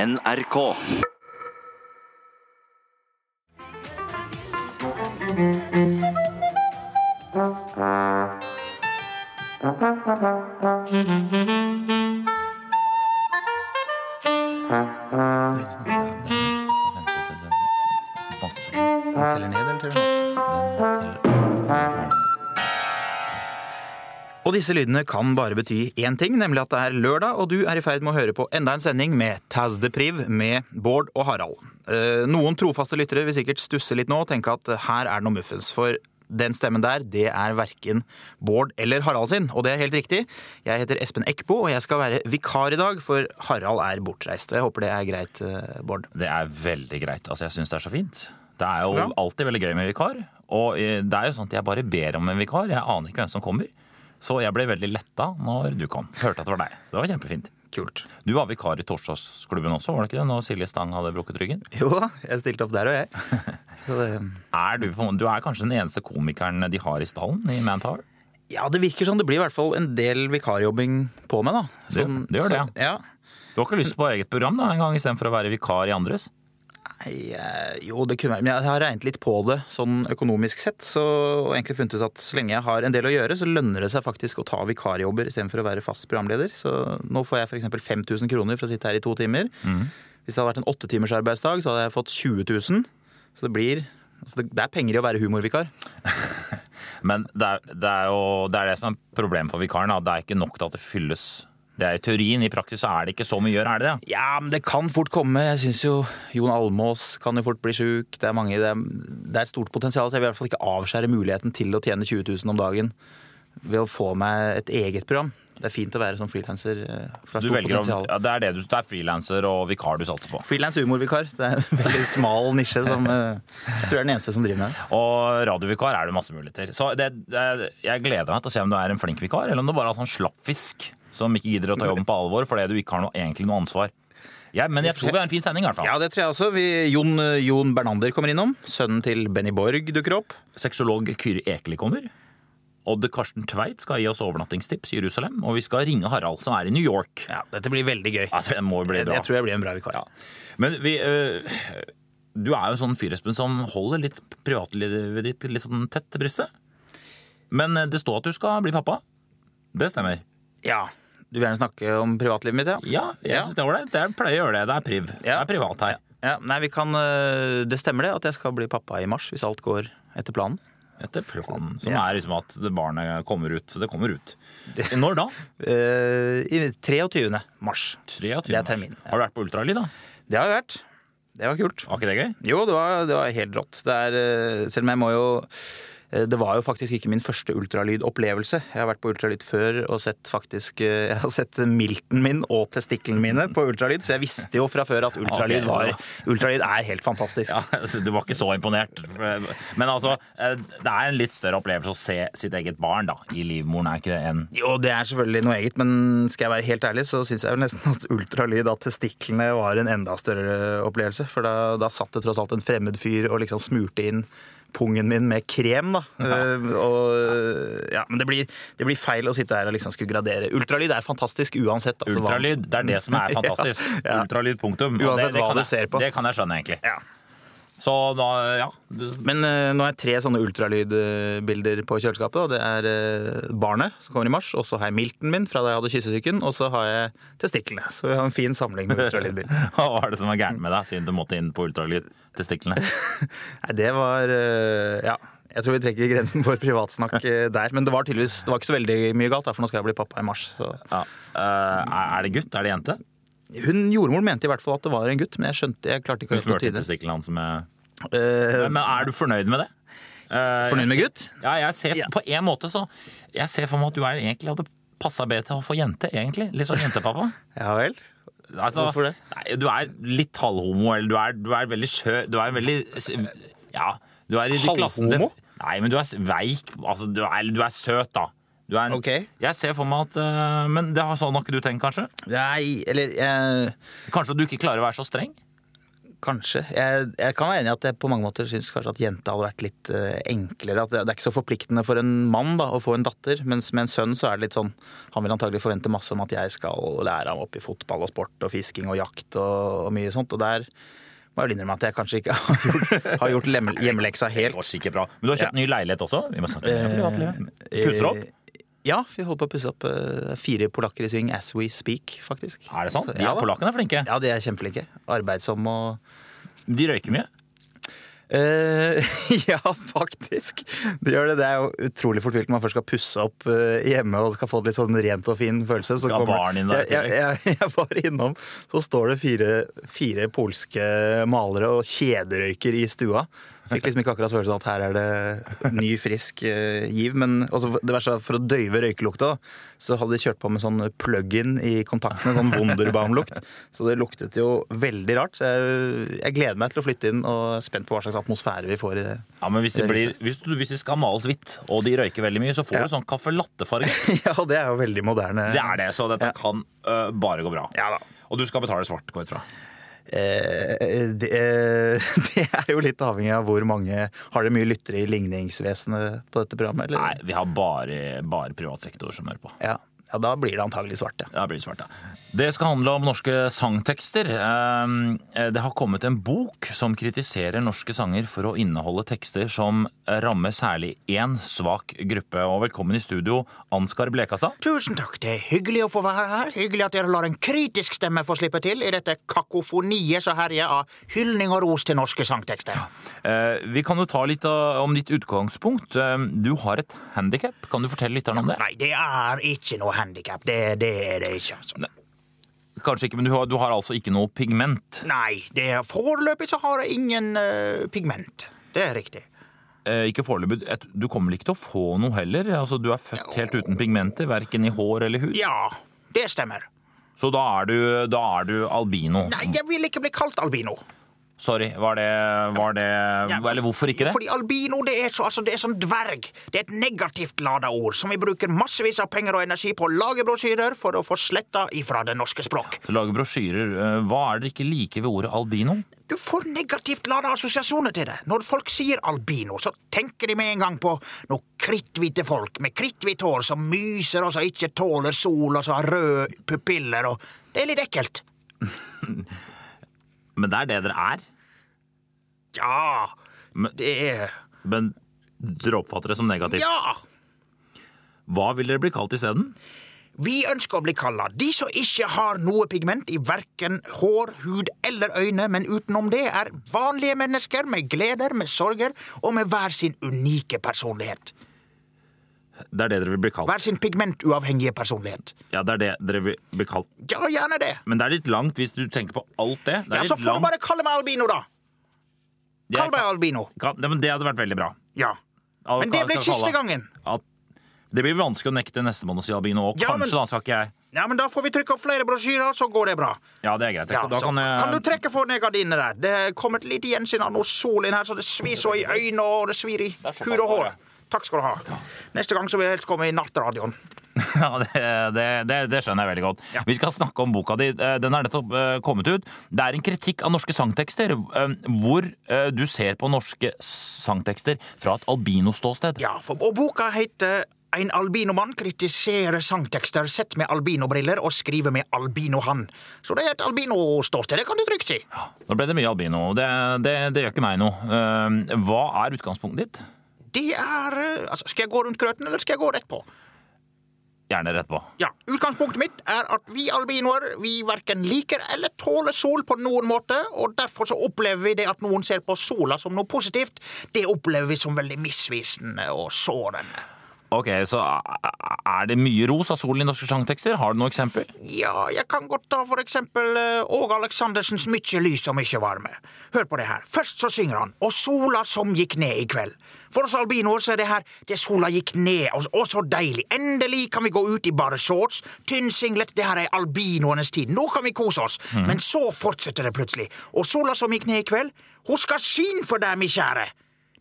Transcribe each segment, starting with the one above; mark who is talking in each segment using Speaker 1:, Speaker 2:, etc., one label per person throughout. Speaker 1: NRK.
Speaker 2: Og disse lydene kan bare bety én ting, nemlig at det er lørdag, og du er i ferd med å høre på enda en sending med Taz the Priv med Bård og Harald. Eh, Noen trofaste lyttere vil sikkert stusse litt nå og tenke at her er det noe muffens. For den stemmen der, det er verken Bård eller Harald sin, og det er helt riktig. Jeg heter Espen Eckbo, og jeg skal være vikar i dag, for Harald er bortreist. Jeg håper det er greit, eh, Bård.
Speaker 3: Det er veldig greit. Altså, jeg syns det er så fint. Det er
Speaker 2: Så
Speaker 3: jo
Speaker 2: bra.
Speaker 3: alltid veldig gøy med vikar. Og eh, det er jo sånn at jeg bare ber om en vikar. Jeg aner ikke hvem som kommer. Så jeg ble veldig letta når du kom. Hørte at det var deg. Så det var kjempefint.
Speaker 2: Kult.
Speaker 3: Du var vikar i torsdagsklubben også, var det ikke det? Når Silje Stang hadde brukket ryggen.
Speaker 2: Jo da, jeg stilte opp der og jeg. Så det,
Speaker 3: Er du, på, en måte- du er kanskje den eneste komikeren de har i stallen i Manpower?
Speaker 2: ja, det virker sånn. Det blir i hvert fall en del vikarjobbing på meg, da. Sånn-
Speaker 3: Det- det gjør det,
Speaker 2: så- ja.
Speaker 3: Du har ikke lyst på eget program da, en gang istedenfor å være vikar i andres?
Speaker 2: Nei, eh, jo, det kunne være, men jeg har regnet litt på det sånn økonomisk sett. Så, og egentlig funnet ut at så lenge jeg har en del å gjøre, så lønner det seg faktisk å ta vikarjobber istedenfor å være fast programleder. Så nå får jeg f.eks. 5000 kroner for å sitte her i to timer.
Speaker 3: Mm.
Speaker 2: Hvis det hadde vært en åttetimers arbeidsdag, så hadde jeg fått 20 000. Så det blir altså det, det er penger i å være humorvikar.
Speaker 3: Men det er, det er jo det, er det som er problemet for vikaren. Da. Det er ikke nok til at det fylles. Det er i teorien, i praksis så er det ikke så mye å gjøre, er det det?
Speaker 2: Ja, men det kan fort komme. Jeg syns jo Jon Almås kan jo fort bli sjuk. Det er mange, det er, det er et stort potensial. Så jeg vil i hvert fall ikke avskjære muligheten til å tjene 20 000 om dagen ved å få meg et eget program. Det er fint å være som frilanser. For det er
Speaker 3: Du
Speaker 2: stort
Speaker 3: velger å,
Speaker 2: potensial.
Speaker 3: ja, det er det du det er frilanser og vikar du satser på.
Speaker 2: Frilans humorvikar. Det er en veldig smal nisje som eh, jeg tror jeg er den eneste som driver med det.
Speaker 3: Og radiovikar er det masse muligheter. Så det, det, jeg gleder meg til å se om du er en flink vikar, eller om du bare er sånn slappfisk som ikke gidder å ta jobben på alvor fordi du ikke har noe, egentlig noe ansvar. Jeg- men jeg tror vi har en fin sending, i hvert fall.
Speaker 2: Ja, det tror jeg også. Vi, Jon, eh, Jon Bernander kommer innom. Sønnen til Benny Borg dukker opp.
Speaker 3: Sexolog Kyrre Ekeli kommer. Odd Karsten Tveit skal gi oss overnattingstips i Jerusalem. Og vi skal ringe Harald, som er i New York.
Speaker 2: Ja, Dette blir veldig gøy.
Speaker 3: Ja, det må jo bli
Speaker 2: Jeg,
Speaker 3: bra.
Speaker 2: jeg tror jeg blir en bra vikar.
Speaker 3: Ja. Men vi øh, Du er jo en sånn fyr, Espen, som holder litt privatlivet ditt litt sånn tett til brystet. Men eh, det står at du skal bli pappa. Det stemmer.
Speaker 2: Ja. Du vil gjerne snakke om privatlivet mitt, ja?
Speaker 3: Ja, jeg
Speaker 2: Ja.
Speaker 3: synes det er ålreit. Jeg pleier å gjøre det. Det er priv. Det
Speaker 2: Ja.
Speaker 3: er privat her.
Speaker 2: Ja, nei, vi kan, øh, Det stemmer det at jeg skal bli pappa i mars, hvis alt går etter planen.
Speaker 3: Etter planen, som
Speaker 2: Ja.
Speaker 3: er liksom at det barnet kommer ut. Så det kommer ut. Når da?
Speaker 2: Eh, I 23. mars.
Speaker 3: 23.
Speaker 2: Det er
Speaker 3: mars.
Speaker 2: termin, ja.
Speaker 3: Har du vært på ultralyd, da?
Speaker 2: Det har jeg vært. Det var kult.
Speaker 3: Var ikke det gøy?
Speaker 2: Jo, det var, det var helt rått. Det er, øh, selv om jeg må jo øh, det var jo faktisk ikke min første ultralydopplevelse. Jeg har vært på ultralyd før og sett faktisk øh, Jeg har sett milten min og testiklene mine på ultralyd, så jeg visste jo fra før at ultralyd,
Speaker 3: Ok, så-
Speaker 2: var, ultralyd er helt fantastisk.
Speaker 3: Ja, altså, Du var ikke så imponert. Men altså, eh, det er en litt større opplevelse å se sitt eget barn da, i livmoren, er ikke det? En
Speaker 2: Jo, det er selvfølgelig noe eget, men skal jeg være helt ærlig, så syns jeg vel nesten at ultralyd av testiklene var en enda større opplevelse. For da, da satt det tross alt en fremmed fyr og liksom smurte inn pungen min med krem, da. Eh, og ja, men det blir, det blir feil å sitte her og liksom skulle gradere. Ultralyd er fantastisk uansett. altså, hva-
Speaker 3: ultralyd, det er det som er fantastisk.
Speaker 2: Ja, ja.
Speaker 3: Ultralyd, punktum. Og det-
Speaker 2: Uansett
Speaker 3: det
Speaker 2: hva
Speaker 3: kan
Speaker 2: du
Speaker 3: jeg-
Speaker 2: ser på.
Speaker 3: Det kan jeg skjønne, egentlig.
Speaker 2: Ja.
Speaker 3: Så da, ja. du-
Speaker 2: Men eh, nå er tre sånne ultralydbilder på kjøleskapet. Og det er eh, barnet som kommer i mars, og så har jeg milten min fra da jeg hadde kyssesyken, og så har jeg testiklene. Så vi har en fin samling med ultralydbilder.
Speaker 3: Hva var det som var gærent med deg, siden du måtte inn på ultralyd? Testiklene.
Speaker 2: Nei, det var øh, Ja. Jeg tror vi trekker grensen for privatsnakk øh, der. Men det var tydeligvis det var ikke så veldig mye galt, da, for nå skal jeg bli pappa i mars. Så.
Speaker 3: Ja. Eh, Er er det gutt? Er det jente?
Speaker 2: Hun jordmoren mente i hvert fall at det var en gutt, men jeg skjønte, jeg klarte ikke
Speaker 3: Hun
Speaker 2: å helt
Speaker 3: smurte
Speaker 2: tyde.
Speaker 3: testiklene hans med
Speaker 2: Øh,
Speaker 3: Men er du fornøyd med det? Eh,
Speaker 2: Fornøyd med
Speaker 3: jeg
Speaker 2: gutt?
Speaker 3: ser- Ja, jeg ser
Speaker 2: Ja.
Speaker 3: på en måte så Jeg ser for meg at du er, egentlig hadde passa bedre til å få jente, egentlig. Litt sånn jentepappa.
Speaker 2: ja vel.
Speaker 3: Altså,
Speaker 2: Hvorfor det?
Speaker 3: Nei, du er litt halvhomo, eller du er, du er veldig skjø... Du er veldig Ja. Du er i de klassen
Speaker 2: Halvhomo?
Speaker 3: Nei, men du er veik. Altså, du er, du er søt, da. Du er en,
Speaker 2: Ok.
Speaker 3: Jeg ser for meg at øh, Men det har sånn har ikke du tenkt, kanskje?
Speaker 2: Nei, eller øh,
Speaker 3: Kanskje du ikke klarer å være så streng?
Speaker 2: Kanskje. Jeg, jeg kan være enig i at jeg på mange måter syns kanskje at jenta hadde vært litt eh, enklere. At det, det er ikke så forpliktende for en mann da, å få en datter, mens med en sønn så er det litt sånn Han vil antagelig forvente masse om at jeg skal lære ham opp i fotball og sport og fisking og jakt og, og mye sånt. Og der må jeg vel innrømme at jeg kanskje ikke har gjort, har gjort lemme- hjemmeleksa helt.
Speaker 3: Det var sikkert bra. Men du har kjøpt
Speaker 2: Ja.
Speaker 3: ny leilighet også? Vi må snakke om privatlivet. Pusser opp?
Speaker 2: Eh, Ja, vi holder på å pusse opp eh, fire polakker i sving as we speak, faktisk.
Speaker 3: Er det sant?
Speaker 2: Så,
Speaker 3: De
Speaker 2: ja,
Speaker 3: er
Speaker 2: da.
Speaker 3: polakkene er flinke.
Speaker 2: Ja, de er kjempeflinke. Arbeidsomme og
Speaker 3: De røyker mye.
Speaker 2: Eh, ja, faktisk. Det gjør det. Det er jo utrolig fortvilt når man først skal pusse opp eh, hjemme og skal få det litt sånn rent og fin følelse. Så
Speaker 3: Skal ha barn inn der,
Speaker 2: jeg, jeg, jeg, jeg var innom, så står det fire, fire polske malere og kjederøyker i stua. Fikk liksom ikke akkurat følelsen av at her er det ny, frisk eh, giv. Men også for- det verste er at for å døyve røykelukta, da, så hadde de kjørt på med sånn plug-in i kontaktene. Sånn Wunderbaum-lukt. Så det luktet jo veldig rart. Så jeg, jeg gleder meg til å flytte inn og er spent på hva slags atmosfære vi får i det.
Speaker 3: Ja, men hvis de,
Speaker 2: Det
Speaker 3: blir, hvis, du- hvis de skal males hvitt, og de røyker veldig mye, så får du sånn caffè latte-farge.
Speaker 2: Ja, det er jo veldig moderne.
Speaker 3: Det er det, så dette kan øh, bare gå bra.
Speaker 2: Ja da.
Speaker 3: Og du skal betale svart, gå ut fra.
Speaker 2: Eh, det, eh, det er jo litt avhengig av hvor mange Har dere mye lyttere i ligningsvesenet på dette programmet? Eller?
Speaker 3: Nei, vi har bare, bare privat sektor som hører på.
Speaker 2: Ja. ja, da blir det antagelig svart, ja.
Speaker 3: Ja, Det blir svart, ja. Det skal handle om norske sangtekster. Eh, Det har kommet en bok som kritiserer norske sanger for å inneholde tekster som rammer særlig én svak gruppe. Og velkommen i studio, Ansgar Blekastad.
Speaker 4: Tusen takk, det er hyggelig å få være her. Hyggelig at dere lar en kritisk stemme få slippe til i dette kakofoniet som herjer av hylling og ros til norske sangtekster.
Speaker 3: Eh, Vi kan jo ta litt av- om ditt utgangspunkt. Eh, Du har et handikap. Kan du fortelle lytterne om det?
Speaker 4: Nei, det er ikke noe handikap. Det, det er det ikke. altså.
Speaker 3: Kanskje ikke, men du har, du har altså ikke noe pigment.
Speaker 4: Nei, det er foreløpig så har jeg ingen eh, pigment. Det er riktig.
Speaker 3: Eh, Ikke foreløpig. Et- Du kommer vel ikke til å få noe heller? Altså, Du er født helt uten pigmenter, verken i hår eller hud.
Speaker 4: Ja, det stemmer.
Speaker 3: Så da er du, da er du albino.
Speaker 4: Nei, jeg vil ikke bli kalt albino.
Speaker 3: Sorry, var det, var det
Speaker 4: for-
Speaker 3: Eller hvorfor ikke det?
Speaker 4: Fordi albino det er, så, altså, det er som dverg. Det er et negativt lada ord som vi bruker massevis av penger og energi på å lage brosjyrer for å få sletta ifra det norske språk.
Speaker 3: Så Lage brosjyrer. eh, Hva er dere ikke liker ved ordet albino?
Speaker 4: Du får negativt lada assosiasjoner til det. Når folk sier albino, så tenker de med en gang på noe kritthvite folk med kritthvitt hår som myser og som ikke tåler sol, og som har røde pupiller og Det er litt ekkelt.
Speaker 3: Men det er det dere er.
Speaker 4: Ja,
Speaker 3: Men,
Speaker 4: det er
Speaker 3: men dere oppfatter det som negativt.
Speaker 4: Ja!
Speaker 3: Hva vil dere bli kalt isteden?
Speaker 4: Vi ønsker å bli kalla de som ikke har noe pigment i verken hår, hud eller øyne, men utenom det er vanlige mennesker med gleder, med sorger og med hver sin unike personlighet.
Speaker 3: Det er det dere vil bli kalt.
Speaker 4: Hver sin pigmentuavhengige personlighet.
Speaker 3: Ja, det er det dere vil bli kalt.
Speaker 4: Ja, gjerne det.
Speaker 3: Men det er litt langt hvis du tenker på alt det. det
Speaker 4: Ja,
Speaker 3: er
Speaker 4: Så
Speaker 3: litt
Speaker 4: får du
Speaker 3: langt.
Speaker 4: bare kalle meg albino, da.
Speaker 3: Jeg
Speaker 4: Kall meg albino.
Speaker 3: kan- Nei, men det hadde vært veldig bra.
Speaker 4: Ja.
Speaker 3: Al-
Speaker 4: Men det
Speaker 3: kan-
Speaker 4: ble
Speaker 3: kan
Speaker 4: siste
Speaker 3: kalle-
Speaker 4: gangen.
Speaker 3: At det blir vanskelig å nekte nestemann å si albino òg.
Speaker 4: Ja,
Speaker 3: Kanskje,
Speaker 4: men-
Speaker 3: da skal ikke jeg
Speaker 4: Ja, men Da får vi trykke opp flere brosjyrer, så går det bra.
Speaker 3: Ja, det er greit.
Speaker 4: Ja,
Speaker 3: da
Speaker 4: så,
Speaker 3: kan, jeg...
Speaker 4: kan du trekke for ned gardinene der? Det er kommet litt gjensyn av noe sol inn her, så det svir så i øynene og det svir i
Speaker 3: er såpass
Speaker 4: hud og
Speaker 3: bra,
Speaker 4: hår. Takk skal du ha. Neste gang så vil jeg helst komme i nattradioen.
Speaker 3: Ja, det, det, det, det skjønner jeg veldig godt. Vi skal snakke om boka di. Eh, Den er nettopp eh, kommet ut. Det er en kritikk av norske sangtekster, eh, hvor eh, du ser på norske sangtekster fra et albinoståsted.
Speaker 4: Ja, for, og boka heter En albinomann kritiserer sangtekster sett med albinobriller og skriver med albinohann. Så det er et albinoståsted, det kan du trygt si.
Speaker 3: Nå ble det mye albino. Det, det, det gjør ikke meg noe. Eh, Hva er utgangspunktet ditt?
Speaker 4: Det er eh, altså, Skal jeg gå rundt grøten, eller skal jeg gå rett på?
Speaker 3: Gjerne rett på.
Speaker 4: Ja, Utgangspunktet mitt er at vi albinoer vi verken liker eller tåler sol på noen måte, og derfor så opplever vi det at noen ser på sola som noe positivt. Det opplever vi som veldig misvisende og sårende.
Speaker 3: Ok, så Er det mye ros av solen i norske sangtekster? Har du noe eksempel?
Speaker 4: Ja, jeg kan godt ta for eksempel eh, Åge Aleksandersens Mykje lys og mykje varme. Hør på det her. Først så synger han Og sola som gikk ned i kveld. For oss albinoer så er det her Det sola gikk ned, og, og så deilig. Endelig kan vi gå ut i bare shorts, tynnsinglet, det her er albinoenes tid. Nå kan vi kose oss. Men så fortsetter det plutselig. Og sola som gikk ned i kveld, hun skal skinne for deg, mi kjære.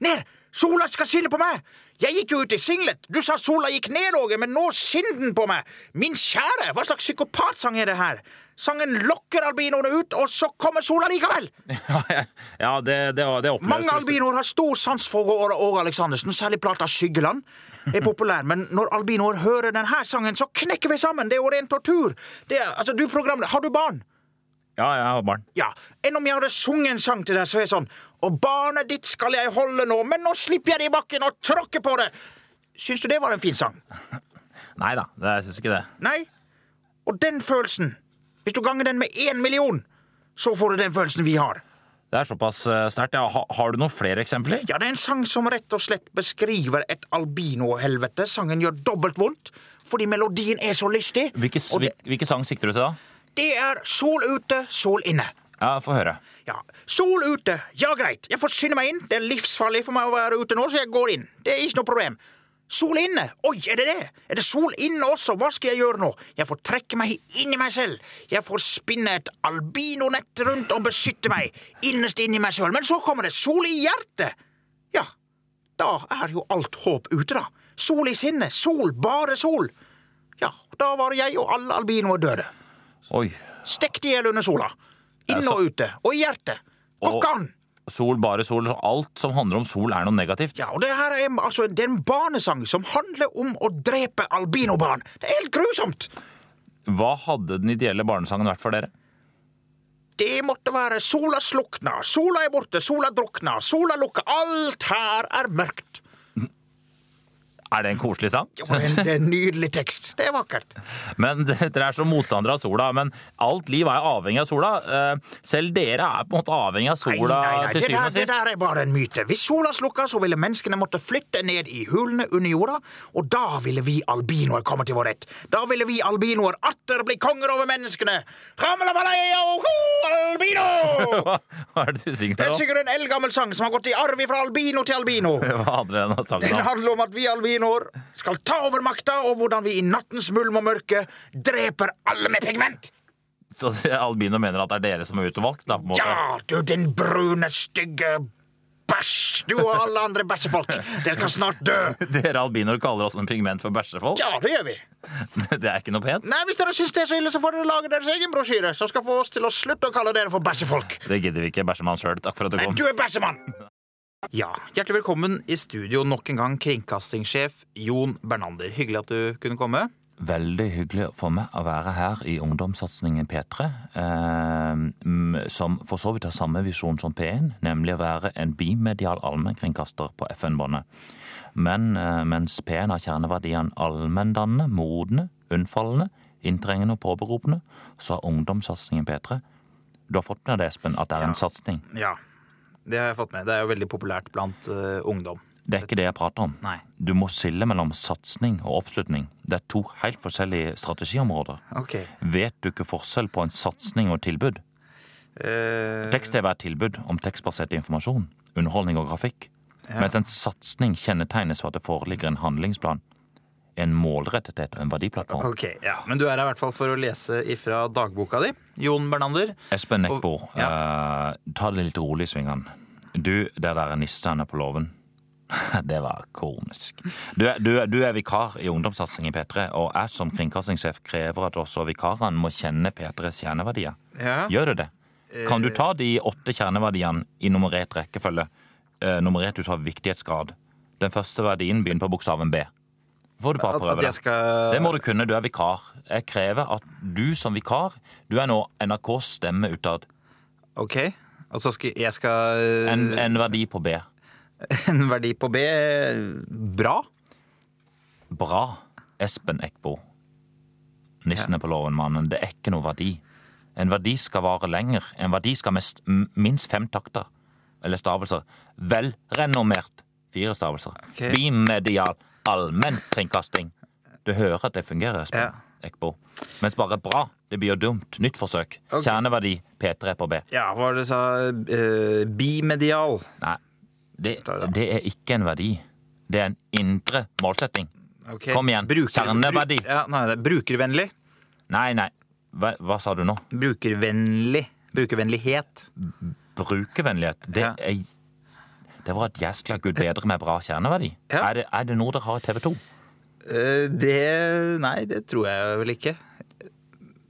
Speaker 4: Ned! Sola skal skinne på meg! Jeg gikk jo ut i singlet. Du sa sola gikk ned, Åge, men nå skinner den på meg. Min kjære, hva slags psykopatsang er det her? Sangen lokker albinoene ut, og så kommer sola likevel!
Speaker 3: Ja, det, det, var- det oppleves
Speaker 4: Mange albinoer har stor sans for Åge Åge Aleksandersen, særlig plata Skyggeland er populær, men når albinoer hører denne sangen, så knekker vi sammen. Det er jo ren tortur. Det er, altså, du programleder, har du barn?
Speaker 3: Ja, jeg har barn.
Speaker 4: Ja, enn om jeg hadde sunget en sang til deg, så er jeg sånn Og barnet ditt skal jeg holde nå, men nå slipper jeg det i bakken og tråkker på det. Syns du det var en fin sang?
Speaker 3: Nei da, det- jeg syns ikke det.
Speaker 4: Nei? Og den følelsen, hvis du ganger den med én million, så får du den følelsen vi har.
Speaker 3: Det er såpass eh, sterkt. Ja, ha, har du noen flere eksempler?
Speaker 4: Ja, det er en sang som rett og slett beskriver et albinohelvete. Sangen gjør dobbelt vondt fordi melodien er så lystig.
Speaker 3: Hvilke,
Speaker 4: og det,
Speaker 3: hvil- hvilke sang sikter du til da?
Speaker 4: det er sol ute, sol inne.
Speaker 3: Ja, Få høre.
Speaker 4: Ja, Sol ute, ja greit. Jeg får skynde meg inn. Det er livsfarlig for meg å være ute nå, så jeg går inn. Det er ikke noe problem. Sol inne? Oi, er det det? Er det sol inne også? Hva skal jeg gjøre nå? Jeg får trekke meg inn i meg selv. Jeg får spinne et albinonett rundt og beskytte meg innerst inni meg sjøl. Men så kommer det sol i hjertet. Ja, da er jo alt håp ute, da. Sol i sinnet. Sol, bare sol. Ja, da var jeg og alle albinoer døde.
Speaker 3: Oi.
Speaker 4: Stekt i hjel under sola. Inne og ute. Og i hjertet. Går
Speaker 3: Og-
Speaker 4: ikke an!
Speaker 3: Sol, bare sol. Så alt som handler om sol, er noe negativt.
Speaker 4: Ja, og det her er altså det er en barnesang som handler om å drepe albinobarn. Det er helt grusomt!
Speaker 3: Hva hadde den ideelle barnesangen vært for dere?
Speaker 4: Det måtte være sola slukna, sola er borte, sola drukna, sola lukka, alt her er mørkt.
Speaker 3: Er det en koselig sang?
Speaker 4: Jo, men Det er en nydelig tekst. Det er vakkert.
Speaker 3: Men Dere er så motstandere av sola, men alt liv er avhengig av sola. Eh, Selv dere er på en måte avhengig av
Speaker 4: Nei,
Speaker 3: sola
Speaker 4: nei, nei,
Speaker 3: til
Speaker 4: det der,
Speaker 3: syvende og
Speaker 4: det
Speaker 3: sist.
Speaker 4: der er bare en myte. Hvis sola slukka, så ville menneskene måtte flytte ned i hulene under jorda, og da ville vi albinoer komme til vår rett. Da ville vi albinoer atter bli konger over menneskene! Ramalabalaya og ho, albino!
Speaker 3: Hva, hva er det du synger
Speaker 4: Det er
Speaker 3: nå?
Speaker 4: sikkert en eldgammel sang som har gått i arv fra albino til albino.
Speaker 3: Hva handler denne sangen
Speaker 4: Den
Speaker 3: om?
Speaker 4: handler om at vi albinoer skal ta over makta, og hvordan vi i nattens mulm og mørke dreper alle med pigment.
Speaker 3: Så Albino mener at det er dere som er utvalgt? Da, på en måte.
Speaker 4: Ja, du din brune, stygge bæsj. Du og alle andre bæsjefolk. Dere skal snart dø.
Speaker 3: Dere albinoer kaller oss en pigment for bæsjefolk?
Speaker 4: Ja, det gjør vi.
Speaker 3: Det er ikke noe pent.
Speaker 4: Nei, Hvis dere syns det er så ille, så får dere lage deres egen brosjyre, som skal få oss til å slutte å kalle dere for bæsjefolk.
Speaker 3: Det gidder vi ikke. Bæsjemann sjøl. Takk for at du
Speaker 4: Nei,
Speaker 3: kom.
Speaker 4: du er bæsjemann.
Speaker 2: Ja, Hjertelig velkommen i studio nok en gang, kringkastingssjef Jon Bernander. Hyggelig at du kunne komme.
Speaker 3: Veldig hyggelig for meg å være her i ungdomssatsingen P3, eh, mm, som for så vidt har samme visjon som P1, nemlig å være en bimedial allmennkringkaster på FN-båndet. Men eh, mens P1 har kjerneverdien allmenndannende, modne, unnfallende, inntrengende og påberopende, så har ungdomssatsingen P3 Du har fått med deg det, Espen, at det er en satsing.
Speaker 2: Ja, Det har jeg fått med. Det er jo veldig populært blant eh, ungdom.
Speaker 3: Det er ikke det jeg prater om.
Speaker 2: Nei.
Speaker 3: Du må skille mellom satsing og oppslutning. Det er to helt forskjellige strategiområder.
Speaker 2: Ok.
Speaker 3: Vet du ikke forskjell på en satsing og et tilbud?
Speaker 2: Eh,
Speaker 3: Tekst-TV er et tilbud om tekstbasert informasjon, underholdning og grafikk. Mens en satsing kjennetegnes ved at det foreligger en handlingsplan, en målrettethet og en verdiplattform.
Speaker 2: ok, ja. Men du er her i hvert fall for å lese ifra dagboka di, Jon Bernander.
Speaker 3: Espen Eckbo, eh, ta det litt rolig i svingene. Du, det der er nissene på låven. det var komisk. Du, er- du, er- du er vikar i ungdomssatsing i P3, og jeg som kringkastingssjef krever at også vikarene må kjenne P3s kjerneverdier.
Speaker 2: Ja.
Speaker 3: Gjør du det? Kan du ta de åtte kjerneverdiene i nummerert rekkefølge, eh, nummerert ut fra viktighetsgrad? Den første verdien begynner på bokstaven B. Får du bare
Speaker 2: At,
Speaker 3: prøve
Speaker 2: at
Speaker 3: det?
Speaker 2: jeg skal
Speaker 3: Det må du kunne, du er vikar. Jeg krever at du som vikar, du er nå NRKs stemme utad.
Speaker 2: Ok. Og så skal jeg skal eh,
Speaker 3: En, en verdi på B.
Speaker 2: en verdi på B. Bra.
Speaker 3: Bra. Espen Eckbo. Nissen er på låven, mannen. Det er ikke noe verdi. En verdi skal vare lenger. En verdi skal mest, m- minst fem takter. Eller stavelser. Velrenommert. Fire stavelser.
Speaker 2: Ok.
Speaker 3: Bimedial. Allmennkringkasting. Du hører at det fungerer, Espen
Speaker 2: Ja.
Speaker 3: Eckbo. Mens bare bra, det blir jo dumt. Nytt forsøk. Kjerneverdi. P3 på B.
Speaker 2: Ja, hva var det du sa? Eh, bimedial.
Speaker 3: Nei, det,
Speaker 2: Ta det da.
Speaker 3: det er ikke en verdi. Det er en indre målsetting.
Speaker 2: Ok.
Speaker 3: Kom igjen. Kjerneverdi.
Speaker 2: bruk- ja, nei, det er brukervennlig.
Speaker 3: Nei, nei. Hva, hva sa du nå?
Speaker 2: Brukervennlig. Brukervennlighet.
Speaker 3: Brukervennlighet. Det
Speaker 2: Ja.
Speaker 3: er det var at 'Jeg skal gud bedre med bra kjerneverdi'.
Speaker 2: Ja.
Speaker 3: Er, det, er det noe dere har i TV 2?
Speaker 2: Eh, Det Nei, det tror jeg vel ikke.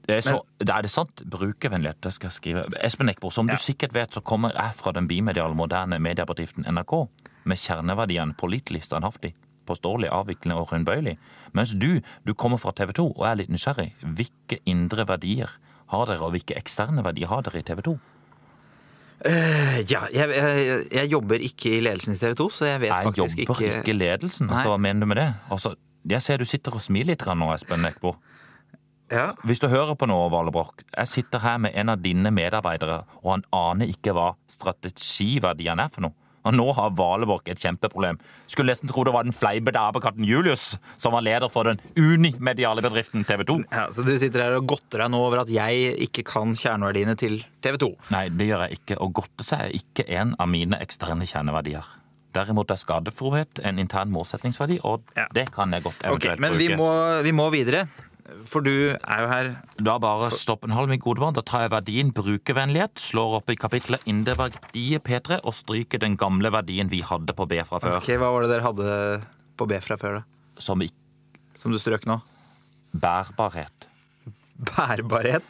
Speaker 3: Det er, så, det er det sant? Brukervennlighet, det skal jeg skrive. Espen Eckbo, som du sikkert vet, så kommer jeg fra den bimediale moderne mediebedriften NRK, med kjerneverdien pålitelig, standhaftig, påståelig, avviklende og rundbøyelig. Mens du, du kommer fra TV 2 og er litt nysgjerrig. Hvilke indre verdier har dere, og hvilke eksterne verdier har dere i TV 2?
Speaker 2: Ja, jeg, jeg, jeg jobber ikke i ledelsen i TV 2, så jeg vet
Speaker 3: Jeg
Speaker 2: faktisk
Speaker 3: jobber
Speaker 2: ikke,
Speaker 3: ikke, ledelsen.
Speaker 2: Nei.
Speaker 3: Altså, hva mener du med det? Altså, jeg ser du sitter og smiler litt grann nå, Espen Eckbo.
Speaker 2: Ja.
Speaker 3: Hvis du hører på nå, Vale Broch, jeg sitter her med en av dine medarbeidere, og han aner ikke hva strategiverdien er for noe. Og nå har Valebroch et kjempeproblem. Skulle nesten tro det var den fleipete apekatten Julius som var leder for den unimediale bedriften TV 2.
Speaker 2: Ja, Så du sitter her og godter deg nå over at jeg ikke kan kjerneverdiene til TV 2.
Speaker 3: Nei, det gjør jeg ikke. Å godte seg er ikke en av mine eksterne kjerneverdier. Derimot er skadefrohet en intern målsettingsverdi, og
Speaker 2: Ja.
Speaker 3: det kan jeg godt
Speaker 2: Ok,
Speaker 3: eventuelt
Speaker 2: Men vi
Speaker 3: bruke.
Speaker 2: må, vi må videre. For du er jo her
Speaker 3: Da bare stopp en halv, min gode mann. Da tar jeg verdien brukervennlighet, slår opp i kapitlet indre verdier P3 og stryker den gamle verdien vi hadde på B fra før.
Speaker 2: Ok, Hva var det dere hadde på B fra før, da?
Speaker 3: Som i
Speaker 2: Som du strøk nå?
Speaker 3: bærbarhet.
Speaker 2: Bærbarhet?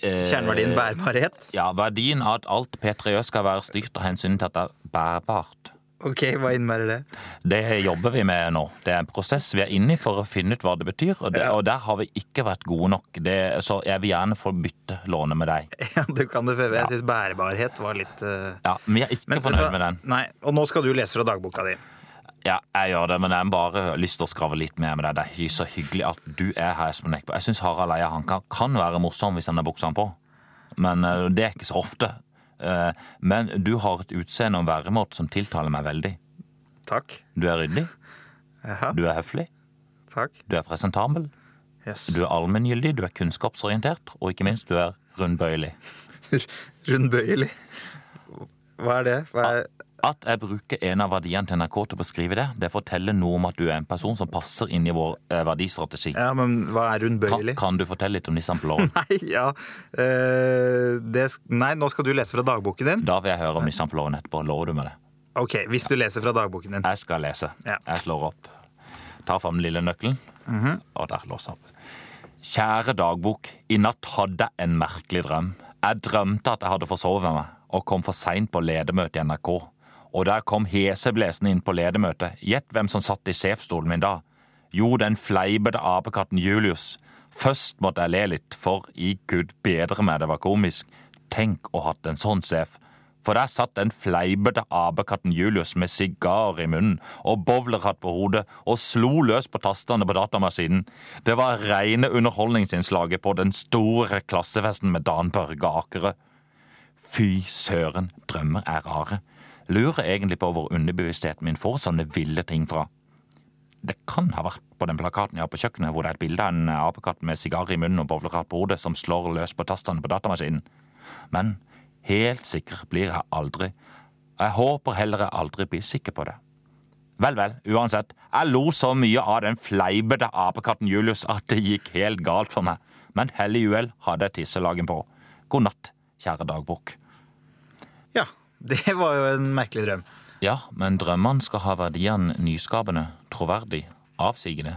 Speaker 3: Eh,
Speaker 2: Kjerneverdien bærbarhet?
Speaker 3: Ja, verdien av at alt P3 gjør skal være styrt av hensyn til at det er bærbart.
Speaker 2: Ok, hva innebærer det?
Speaker 3: Det jobber vi med nå. Det er en prosess vi er inne i for å finne ut hva det betyr, og, det,
Speaker 2: Ja.
Speaker 3: og der har vi ikke vært gode nok. Det, så jeg vil gjerne få bytte lånet med deg.
Speaker 2: Ja, du kan det Jeg syns bærbarhet var litt eh,
Speaker 3: Ja, men jeg er ikke
Speaker 2: men vet du
Speaker 3: fornøyd
Speaker 2: hva?
Speaker 3: med den.
Speaker 2: Nei, Og nå skal du lese fra dagboka di.
Speaker 3: Ja, jeg gjør det, men jeg har bare lyst til å skrave litt mer med deg. Det er hy- så hyggelig at du er her, Espen Eckbo. Jeg syns Harald Eia han kan, kan være morsom hvis han har buksene på, men eh, det er ikke så ofte. Eh, Men du har et utseende og en væremåte som tiltaler meg veldig.
Speaker 2: Takk.
Speaker 3: Du er ryddig,
Speaker 2: Jaha,
Speaker 3: du er høflig,
Speaker 2: takk.
Speaker 3: du er presentabel,
Speaker 2: Yes.
Speaker 3: du er allmenngyldig, du er kunnskapsorientert, og ikke minst, du er rundbøyelig.
Speaker 2: Rundbøyelig. Hva er det? Hva er...
Speaker 3: At jeg bruker en av verdiene til NRK til å beskrive det, det forteller noe om at du er en person som passer inn i vår eh, verdistrategi.
Speaker 2: Ja, men hva er
Speaker 3: Kan,
Speaker 2: rundbøyelig?
Speaker 3: kan du fortelle litt om disse blå?
Speaker 2: Nei, ja. eh, det, sk- nei, nå skal du lese fra dagboken din.
Speaker 3: Da vil jeg høre om nisseampuloven etterpå. Lover du meg det?
Speaker 2: Ok, hvis du leser fra dagboken din.
Speaker 3: Jeg skal lese.
Speaker 2: Ja.
Speaker 3: Jeg slår opp. Tar fram den lille nøkkelen, og der låser jeg opp. Kjære dagbok. I natt hadde jeg en merkelig drøm. Jeg drømte at jeg hadde forsovet meg, og kom for seint på ledermøte i NRK. Og der kom heseblesende inn på ledermøtet. Gjett hvem som satt i sjefsstolen min da? Jo, den fleipete apekatten Julius. Først måtte jeg le litt, for i gud bedre meg, det var komisk. Tenk å hatt en sånn sjef. For der satt den fleipete apekatten Julius med sigar i munnen og bowlerhatt på hodet og slo løs på tastene på datamaskinen. Det var rene underholdningsinnslaget på den store klassefesten med Dan Børge Akerø. Fy søren, drømmer er rare. Lurer egentlig på hvor underbevisstheten min får sånne ville ting fra. Det kan ha vært på den plakaten jeg har på kjøkkenet, hvor det er et bilde av en apekatt med sigar i munnen og bowlerhatt på hodet som slår løs på tastene på datamaskinen. Men helt sikker blir jeg aldri. Jeg håper heller jeg aldri blir sikker på det. Vel, vel, uansett. Jeg lo så mye av den fleipete apekatten Julius at det gikk helt galt for meg. Men hell i uhell hadde jeg tisselagen på. God natt, kjære dagbok.
Speaker 2: Ja, det var jo en merkelig drøm.
Speaker 3: Ja, men drømmene skal ha verdiene nyskapende, troverdig, avsigende.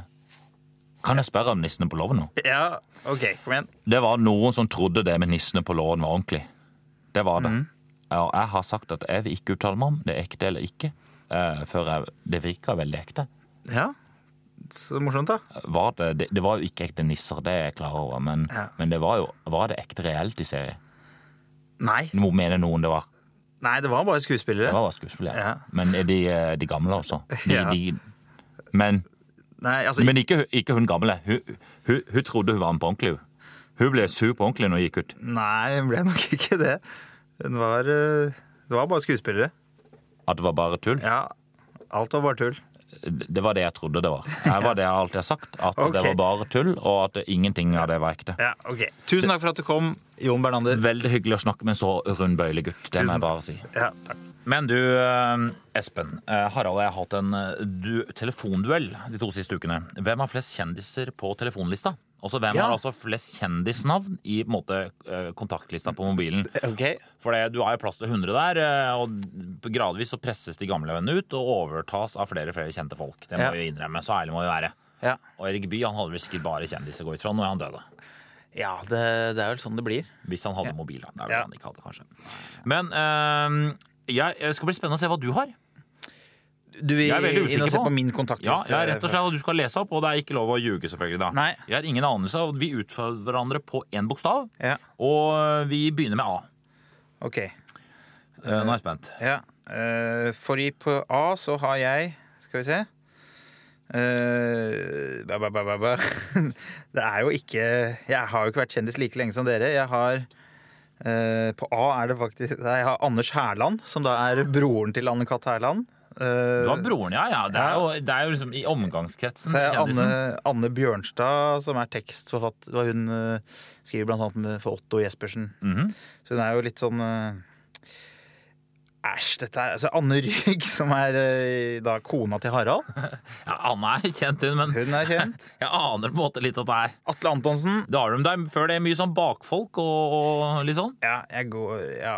Speaker 3: Kan jeg spørre om nissene på låven nå?
Speaker 2: Ja, ok, kom igjen.
Speaker 3: Det var noen som trodde det med nissene på låven var ordentlig. Det var det.
Speaker 2: Mhm.
Speaker 3: Og jeg har sagt at jeg vil ikke uttale meg om det er ekte eller ikke, eh, før jeg, det virka veldig ekte.
Speaker 2: Ja, så morsomt da.
Speaker 3: Var det, det, det var jo ikke ekte nisser, det er jeg klar over, men,
Speaker 2: Ja.
Speaker 3: men det var jo var det ekte reality-serie.
Speaker 2: Nei,
Speaker 3: Nå mener noen det var.
Speaker 2: nei, det var bare
Speaker 3: Det
Speaker 2: skuespillere.
Speaker 3: var bare skuespillere.
Speaker 2: Ja.
Speaker 3: Men er de, eh, de gamle også. De,
Speaker 2: Ja.
Speaker 3: de, men
Speaker 2: Nei, altså,
Speaker 3: Men ikke, ikke hun gamle. Hun, hun, hun trodde hun var en på ordentlig. hun. Hun ble sur på ordentlig når hun gikk ut.
Speaker 2: nei, det ble nok ikke det. Den var, eh, det var bare skuespillere.
Speaker 3: At det var bare tull.
Speaker 2: Ja, alt var bare tull.
Speaker 3: Det var det jeg trodde det var. Det var det jeg alltid har sagt. At
Speaker 2: Ok.
Speaker 3: det var bare tull, og at det- ingenting av det var ekte.
Speaker 2: Ja, ok. Tusen takk for at du kom, Jon Bernander.
Speaker 3: Veldig hyggelig å snakke med en så rundbøyelig gutt. Det må jeg bare si.
Speaker 2: Ja, takk.
Speaker 3: Men du, eh, Espen. eh, Harald og jeg har hatt en eh, du, telefonduell de to siste ukene. Hvem har flest kjendiser på telefonlista? Også hvem
Speaker 2: Ja.
Speaker 3: har altså flest kjendisnavn i på en måte, eh, kontaktlista på mobilen.
Speaker 2: Ok.
Speaker 3: For det, du har jo plass til 100 der, eh, og gradvis så presses de gamle vennene ut og overtas av flere og flere kjente folk. Det må
Speaker 2: Ja.
Speaker 3: vi innrømme. Så ærlig må vi være.
Speaker 2: Ja,
Speaker 3: Og Erik Bye han hadde vel sikkert bare kjendiser å gå ut fra når han døde.
Speaker 2: ja det, det er vel sånn det blir.
Speaker 3: Hvis han hadde mobil, da. Det er vel
Speaker 2: Ja.
Speaker 3: han ikke hadde, kanskje. Men eh, jeg, jeg skal bli spennende å se hva du har.
Speaker 2: Du vil
Speaker 3: Jeg er veldig usikker
Speaker 2: inn og se
Speaker 3: på.
Speaker 2: på min
Speaker 3: Ja,
Speaker 2: kontaktliste?
Speaker 3: ja, rett og slett, og Du skal lese opp, og det er ikke lov å ljuge, selvfølgelig. da.
Speaker 2: Nei.
Speaker 3: Jeg har ingen anelse. og Vi utfordrer hverandre på én bokstav,
Speaker 2: Ja.
Speaker 3: og eh, vi begynner med A.
Speaker 2: Ok.
Speaker 3: Eh, Nå er jeg spent.
Speaker 2: Ja. eh, fordi på A så har jeg Skal vi se. Eh, ba, ba, ba, ba, ba. Det er jo ikke Jeg har jo ikke vært kjendis like lenge som dere. Jeg har eh, På A er det faktisk Nei, Jeg har Anders Hærland, som da er broren til Anne-Cath. Hærland. Eh,
Speaker 3: Du har broren, ja. ja. Det er
Speaker 2: Ja.
Speaker 3: jo, det er jo liksom i omgangskretsen.
Speaker 2: Så er Anne,
Speaker 3: kjendisen.
Speaker 2: Anne Bjørnstad, som er tekstforfatter. det var Hun eh, skriver blant annet med- for Otto Jespersen.
Speaker 3: Mhm.
Speaker 2: Så hun er jo litt sånn eh, Æsj, dette er altså Anne Rygg, som er eh, da kona til Harald.
Speaker 3: ja, Anne er kjent, hun, men
Speaker 2: Hun er kjent.
Speaker 3: jeg aner på en måte litt at det er
Speaker 2: Atle Antonsen.
Speaker 3: Da har de deg før det er mye sånn bakfolk og, og litt sånn.
Speaker 2: Ja, jeg går Ja.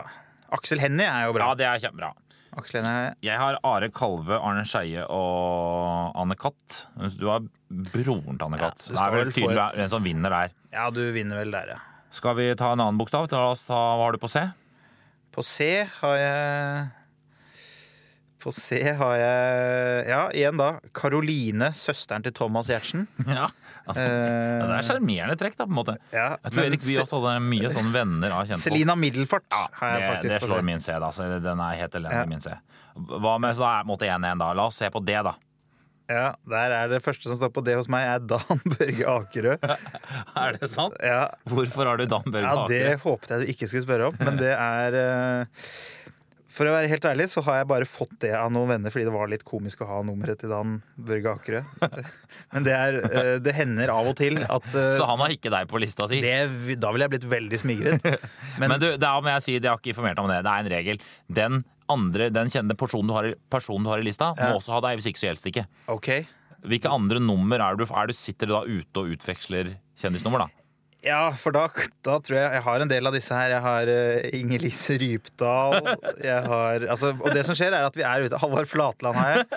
Speaker 2: Aksel Hennie er jo
Speaker 3: Ja,
Speaker 2: bra.
Speaker 3: det er kjempebra.
Speaker 2: Aksel Hennie
Speaker 3: Jeg har Are Kalve, Arne Skeie og Anne Katt. Mens Du har broren til Anne Katt.
Speaker 2: du
Speaker 3: det
Speaker 2: skal
Speaker 3: er
Speaker 2: vel
Speaker 3: vel
Speaker 2: få
Speaker 3: tydelig
Speaker 2: et-
Speaker 3: hvem som vinner der.
Speaker 2: Ja, du vinner vel der, ja.
Speaker 3: Skal vi ta en annen bokstav? La oss ta, Hva har du på C?
Speaker 2: På C har jeg På C har jeg Ja, igjen da. Karoline, søsteren til Thomas Gjertsen.
Speaker 3: Ja, altså,
Speaker 2: Eh,
Speaker 3: Det er sjarmerende trekk, da, på en måte.
Speaker 2: Ja,
Speaker 3: Jeg tror
Speaker 2: men
Speaker 3: Erik vi
Speaker 2: Se-
Speaker 3: også hadde mye sånne venner av kjentfolk.
Speaker 2: Selina Middelfart har jeg
Speaker 3: Det,
Speaker 2: faktisk
Speaker 3: det
Speaker 2: på
Speaker 3: slår
Speaker 2: C.
Speaker 3: min C, da. Så den er helt elendig,
Speaker 2: Ja.
Speaker 3: min C. Hva med så da er det på en måte 1-1, da? La oss se på det, da.
Speaker 2: Ja, der er det første som står på det hos meg, er Dan Børge Akerø.
Speaker 3: Er det sant?
Speaker 2: Ja,
Speaker 3: Hvorfor har du Dan Børge
Speaker 2: ja, det
Speaker 3: Akerø?
Speaker 2: håpet jeg du ikke skulle spørre om, men det er eh, For å være helt ærlig, så har jeg bare fått det av noen venner fordi det var litt komisk å ha nummeret til Dan Børge Akerø. Men det, er, eh, det hender av og til at eh,
Speaker 3: Så han har ikke deg på lista si?
Speaker 2: det, Da ville jeg blitt veldig smigret.
Speaker 3: Men, du, det er, må jeg si, jeg har ikke informert om det. Det er en regel. Den andre, den kjente personen du har, i- personen du har i lista, må også ha deg, hvis ikke så gjelder det ikke.
Speaker 2: Ok.
Speaker 3: Hvilke andre nummer er du, er du sitter du da ute og utveksler kjendisnummer, da?
Speaker 2: Ja, for da, da tror jeg jeg har en del av disse her. Jeg har uh, Inger-Lise Rypdal. Jeg har, altså, og det som skjer, er at vi er ute. Halvard Flatland har jeg.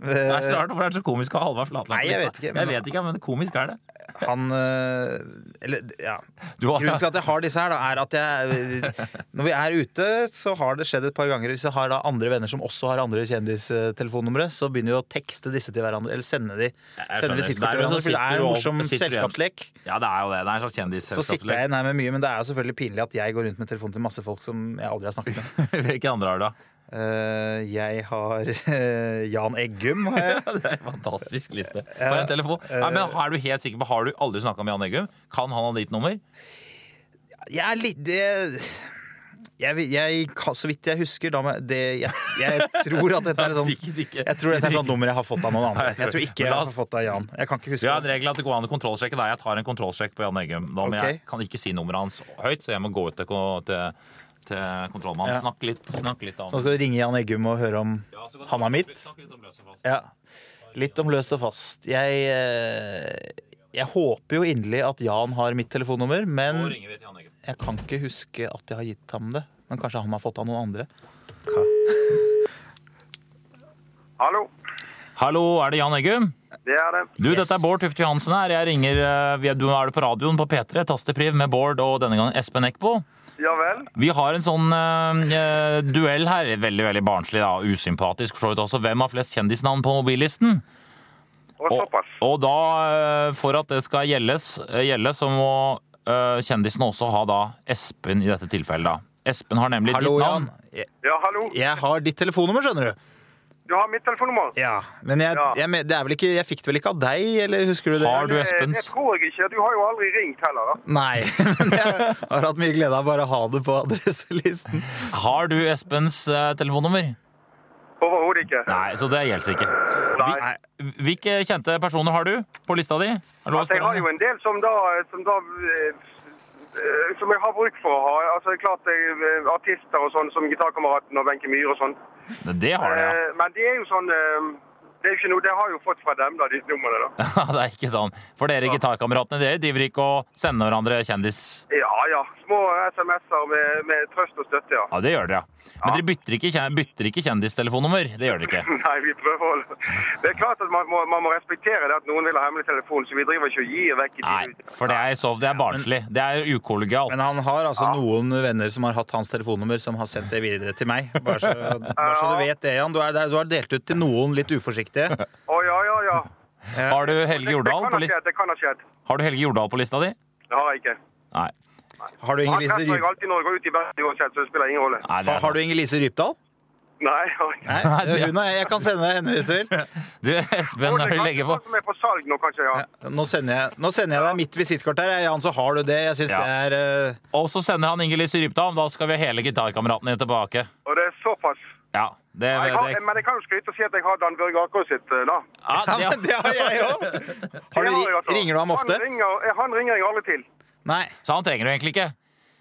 Speaker 3: Det er så rart hvorfor det er så komisk å ha Halvard Flatland
Speaker 2: Eh, Nei,
Speaker 3: på
Speaker 2: jeg
Speaker 3: lista.
Speaker 2: vet ikke,
Speaker 3: jeg
Speaker 2: men-
Speaker 3: vet ikke, men komisk er det.
Speaker 2: Han eh, Eller, ja.
Speaker 3: Du har-
Speaker 2: Grunnen til at jeg har disse her, da, er at jeg eh, Når vi er ute, så har det skjedd et par ganger. Hvis jeg har da andre venner som også har andre kjendistellefonnumre, så begynner vi å tekste disse til hverandre. Eller sende de.
Speaker 3: jeg
Speaker 2: Sende
Speaker 3: skjønner.
Speaker 2: visittkort
Speaker 3: Der
Speaker 2: til hverandre. For det
Speaker 3: sitter
Speaker 2: er
Speaker 3: du
Speaker 2: en
Speaker 3: og-
Speaker 2: morsom
Speaker 3: sitter du igjen.
Speaker 2: selskapslek.
Speaker 3: Ja, det er jo det. Det er en slags
Speaker 2: Så sitter
Speaker 3: kjendisselskapslek.
Speaker 2: jeg nei, med mye, men det er jo selvfølgelig pinlig at jeg går rundt med telefonen til masse folk som jeg aldri har snakket med.
Speaker 3: Hvilke andre har du, da?
Speaker 2: Eh, jeg har eh, Jan Eggum. Har jeg.
Speaker 3: Det er en fantastisk liste. For en telefon.
Speaker 2: Eh.
Speaker 3: Nei, men er du helt sikker på, Har du aldri snakka med Jan Eggum? Kan han ha ditt nummer?
Speaker 2: Jeg er litt det, jeg, vil- jeg, kan- Så vidt jeg husker da, med det, jeg, jeg tror at dette er sånn
Speaker 3: Sikkert ikke.
Speaker 2: Jeg tror dette er sånn nummer jeg har fått av noen andre.
Speaker 3: Nei, jeg tror-
Speaker 2: Jeg tror ikke
Speaker 3: Men
Speaker 2: jeg
Speaker 3: la oss-
Speaker 2: har fått av Jan. Jeg kan ikke
Speaker 3: Vi
Speaker 2: huske
Speaker 3: har en regel at det går an å kontrollsjekke deg. Jeg tar en kontrollsjekk på Jan Eggum. Da må
Speaker 2: Ok.
Speaker 3: jeg kan ikke si nummeret hans høyt, så jeg må gå ut til, ko- til, til kontrollmannen.
Speaker 2: Ja.
Speaker 3: Snakk litt, snakk litt om
Speaker 2: Så skal du ringe Jan Eggum og høre om
Speaker 3: Ja, så kan du-
Speaker 2: han er mitt.
Speaker 3: Snakk litt om løs og fast.
Speaker 2: Ja. Litt om løst og fast. Jeg, eh, jeg håper jo inderlig at Jan har mitt telefonnummer,
Speaker 3: Nå
Speaker 2: men
Speaker 3: ringer vi til Jan Eggum.
Speaker 2: jeg kan ikke huske at jeg har gitt ham det. Men kanskje han har fått av noen andre.
Speaker 5: Hallo,
Speaker 3: Hallo, er det Jan Eggum?
Speaker 5: det er det.
Speaker 3: Du, dette er Bård Tufte Johansen her. Jeg ringer, eh, vi er- Du er det på radioen på P3, Tastepriv, med Bård og denne gangen Espen Eckbo.
Speaker 5: Ja vel?
Speaker 3: Vi har en sånn eh, eh, duell her. Veldig veldig barnslig da, og usympatisk. for så vidt også. Hvem har flest kjendisnavn på mobillisten?
Speaker 5: Og
Speaker 3: Og,
Speaker 5: såpass.
Speaker 3: og da, eh, for at det skal gjeldes, eh, gjelde, så må eh, kjendisene også ha da Espen i dette tilfellet. da. Espen har nemlig
Speaker 2: Hallo,
Speaker 3: ditt navn.
Speaker 2: Jan. Jeg,
Speaker 5: Ja, hallo.
Speaker 2: jeg har ditt telefonnummer, skjønner du.
Speaker 5: Du har mitt telefonnummer.
Speaker 2: Ja, men jeg,
Speaker 5: Ja.
Speaker 2: jeg, men- det er vel ikke, jeg fikk det vel ikke av deg, eller husker du det?
Speaker 3: Har du
Speaker 5: Eh, Det
Speaker 3: Espens
Speaker 5: tror jeg ikke. Du har jo aldri ringt heller. da.
Speaker 2: Nei, men jeg har hatt mye glede av bare å ha det på adresselisten.
Speaker 3: Har du Espens eh, telefonnummer?
Speaker 5: Overhodet ikke.
Speaker 3: Nei, så det gjelder ikke.
Speaker 5: Nei.
Speaker 3: Hvilke kjente personer har du på lista di? Er det lov å
Speaker 5: Altså, jeg
Speaker 3: spørre om
Speaker 5: har jo
Speaker 3: det?
Speaker 5: en del som da, som da eh, eh, Som jeg har bruk for å ha. Altså, det er klart jeg, eh, Artister og sånn, som Gitarkameraten og Wenche Myhre og sånn.
Speaker 3: Det har du, ja.
Speaker 5: Eh, Men det er jo sånn eh, Det er jo ikke noe, det har jeg jo fått fra dem, da, disse numrene. da.
Speaker 3: Ja, det er ikke sånn. For dere gitarkameratene dere driver ikke og sender hverandre kjendis...
Speaker 5: Ja ja. Små SMS-er med, med trøst og støtte, ja.
Speaker 3: Ja, det gjør dere, ja. Men
Speaker 5: Ja.
Speaker 3: dere bytter ikke, kjen- bytter ikke kjendistellefonnummer. Det gjør dere ikke.
Speaker 5: Nei, vi prøver å holde Det er klart at man må, man må respektere det at noen vil ha hemmelig telefon, så vi driver ikke og gir vekk i
Speaker 3: Nei, for det er, så, det er barnslig. Det er ukollegialt.
Speaker 2: Men han har altså noen venner som har hatt hans telefonnummer, som har sendt det videre til meg. Bare så, bare så du vet det, Jan. Du, er, du har delt ut til noen litt uforsiktige.
Speaker 5: Å ja, ja, ja.
Speaker 3: Har du Helge
Speaker 5: Det, det
Speaker 3: Jordal
Speaker 5: kan
Speaker 3: på,
Speaker 5: ha
Speaker 3: lis-
Speaker 5: skjedd. Det kan ha skjedd.
Speaker 3: har du Helge Jordal på lista di?
Speaker 5: Det har jeg ikke.
Speaker 3: Nei.
Speaker 2: Har du
Speaker 5: Han
Speaker 2: Inger Lise
Speaker 5: treffer jeg
Speaker 2: Ryp-
Speaker 5: alltid når jeg går ut i verden uansett, så det spiller ingen rolle.
Speaker 3: Nei, det
Speaker 2: Har-
Speaker 3: er
Speaker 2: har du Inger Lise Rypdal?
Speaker 5: Nei, jeg har ikke.
Speaker 2: Nei,
Speaker 3: det-
Speaker 2: hun og jeg, jeg kan sende henne hvis du vil.
Speaker 3: Du, Espen, når du legger på
Speaker 5: Noen som er på salg nå, kanskje, ja.
Speaker 2: Nå sender jeg, nå sender jeg deg mitt visittkort her, jeg, Jan, så har du det. Jeg syns
Speaker 3: Ja.
Speaker 2: det er eh,
Speaker 3: Og så sender han Inger-Lise Rypdal. Da skal vi ha hele gitarkameraten din tilbake.
Speaker 5: Og det er såpass.
Speaker 3: Ja, det,
Speaker 5: Jeg
Speaker 3: det,
Speaker 5: har, men jeg kan jo skryte og si at jeg har Dan Børge Akerø sitt, eh, da.
Speaker 3: ja,
Speaker 2: Ja,
Speaker 3: det,
Speaker 2: men det har jeg òg!
Speaker 5: Det har jeg, altså.
Speaker 2: Ringer du ham ofte?
Speaker 5: Han ringer, eh, han ringer jeg aldri til.
Speaker 2: Nei.
Speaker 3: Så han trenger du egentlig ikke.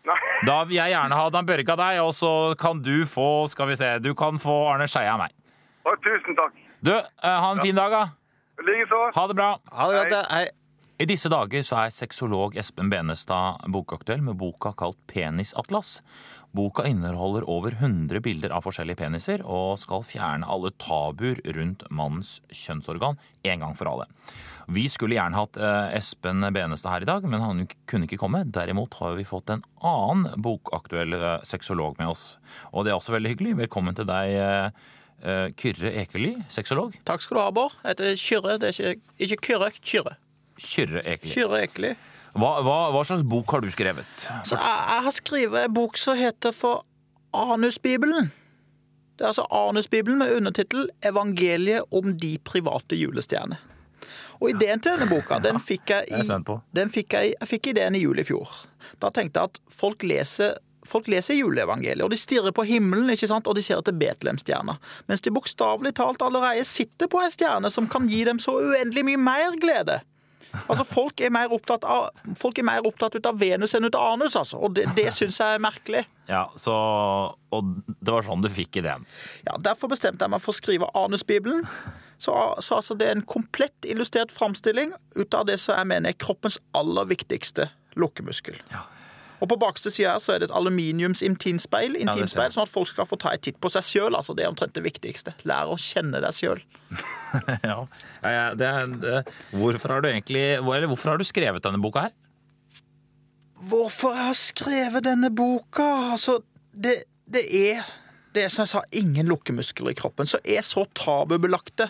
Speaker 5: Nei.
Speaker 3: Da vil jeg gjerne ha Dan Børge av deg, og så kan du få Skal vi se, du kan få Arne Skeie av meg.
Speaker 5: Å, tusen takk.
Speaker 3: Du, eh, ha en fin dag, da.
Speaker 5: Likeså.
Speaker 3: Ha det bra.
Speaker 2: Ha det godt, da. Hei.
Speaker 3: I disse dager så er sexolog Espen Benestad bokaktuell med boka kalt Penisatlas. Boka inneholder over 100 bilder av forskjellige peniser og skal fjerne alle tabuer rundt mannens kjønnsorgan en gang for alle. Vi skulle gjerne hatt eh, Espen Benestad her i dag, men han kunne ikke komme. Derimot har vi fått en annen bokaktuell eh, sexolog med oss. Og det er også veldig hyggelig. Velkommen til deg, eh, eh, Kyrre Ekeli, sexolog.
Speaker 4: Takk skal du ha, Bård. Jeg heter Kyrre. Det er ikke, ikke Kyrre, Kyrre.
Speaker 3: Kyrre Ekeli.
Speaker 4: Kyrre Ekeli.
Speaker 3: Hva, hva, hva slags bok har du skrevet?
Speaker 4: Så jeg, jeg har skrevet en bok som heter for Anusbibelen. Det er altså Anusbibelen med undertittel 'Evangeliet om de private julestjerner'. Og ideen til denne boka, den fikk jeg
Speaker 3: jeg
Speaker 4: i,
Speaker 3: spent på.
Speaker 4: den fikk jeg, i- jeg fikk ideen i jul i fjor. Da tenkte jeg at folk leser Folk leser juleevangeliet, og de stirrer på himmelen ikke sant? og de ser etter Betlehemstjerna. Mens de bokstavelig talt allerede sitter på ei stjerne som kan gi dem så uendelig mye mer glede. Altså, Folk er mer opptatt av, folk er mer opptatt ut av Venus enn ut av anus, altså. Og det, det syns jeg er merkelig.
Speaker 3: Ja, så, Og det var sånn du fikk ideen.
Speaker 4: Ja, Derfor bestemte jeg meg for å skrive Anusbibelen. Så, så altså det er en komplett illustrert framstilling ut av det som jeg mener er kroppens aller viktigste lukkemuskel. Og på bakste side her så er det et aluminiums intimspeil,
Speaker 3: ser
Speaker 4: intimspeil
Speaker 3: jeg.
Speaker 4: sånn at folk skal få ta en titt på seg sjøl. Altså, det er omtrent det viktigste. Lær å kjenne deg sjøl.
Speaker 3: Ja, ja, det, det, hvorfor har du egentlig hvor, eller Hvorfor har du skrevet denne boka her?
Speaker 4: Hvorfor jeg har skrevet denne boka? Altså, det, det er Det er som jeg sa, ingen lukkemuskler i kroppen som er så tabubelagte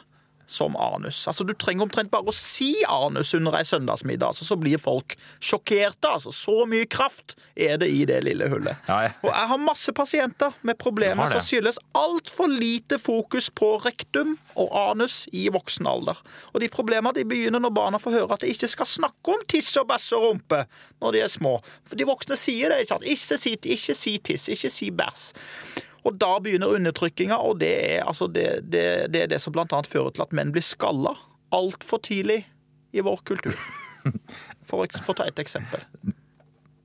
Speaker 4: som anus. Altså, Du trenger omtrent bare å si anus under ei søndagsmiddag, altså, så blir folk sjokkerte. altså. Så mye kraft er det i det lille hullet.
Speaker 3: Ja, ja.
Speaker 4: Og jeg har masse pasienter med
Speaker 3: Du har
Speaker 4: problemer
Speaker 3: det.
Speaker 4: som skyldes altfor lite fokus på rektum og anus i voksen alder. Og de problemene de begynner når barna får høre at de ikke skal snakke om tiss og bæsj og rumpe når de er små. For de voksne sier det, ikke sant. Ikke si, ikke si tiss, ikke si bæsj. Og da begynner undertrykkinga, og det er, altså det, det, det er det som blant annet fører til at menn blir skalla altfor tidlig i vår kultur. For å for å ta et eksempel.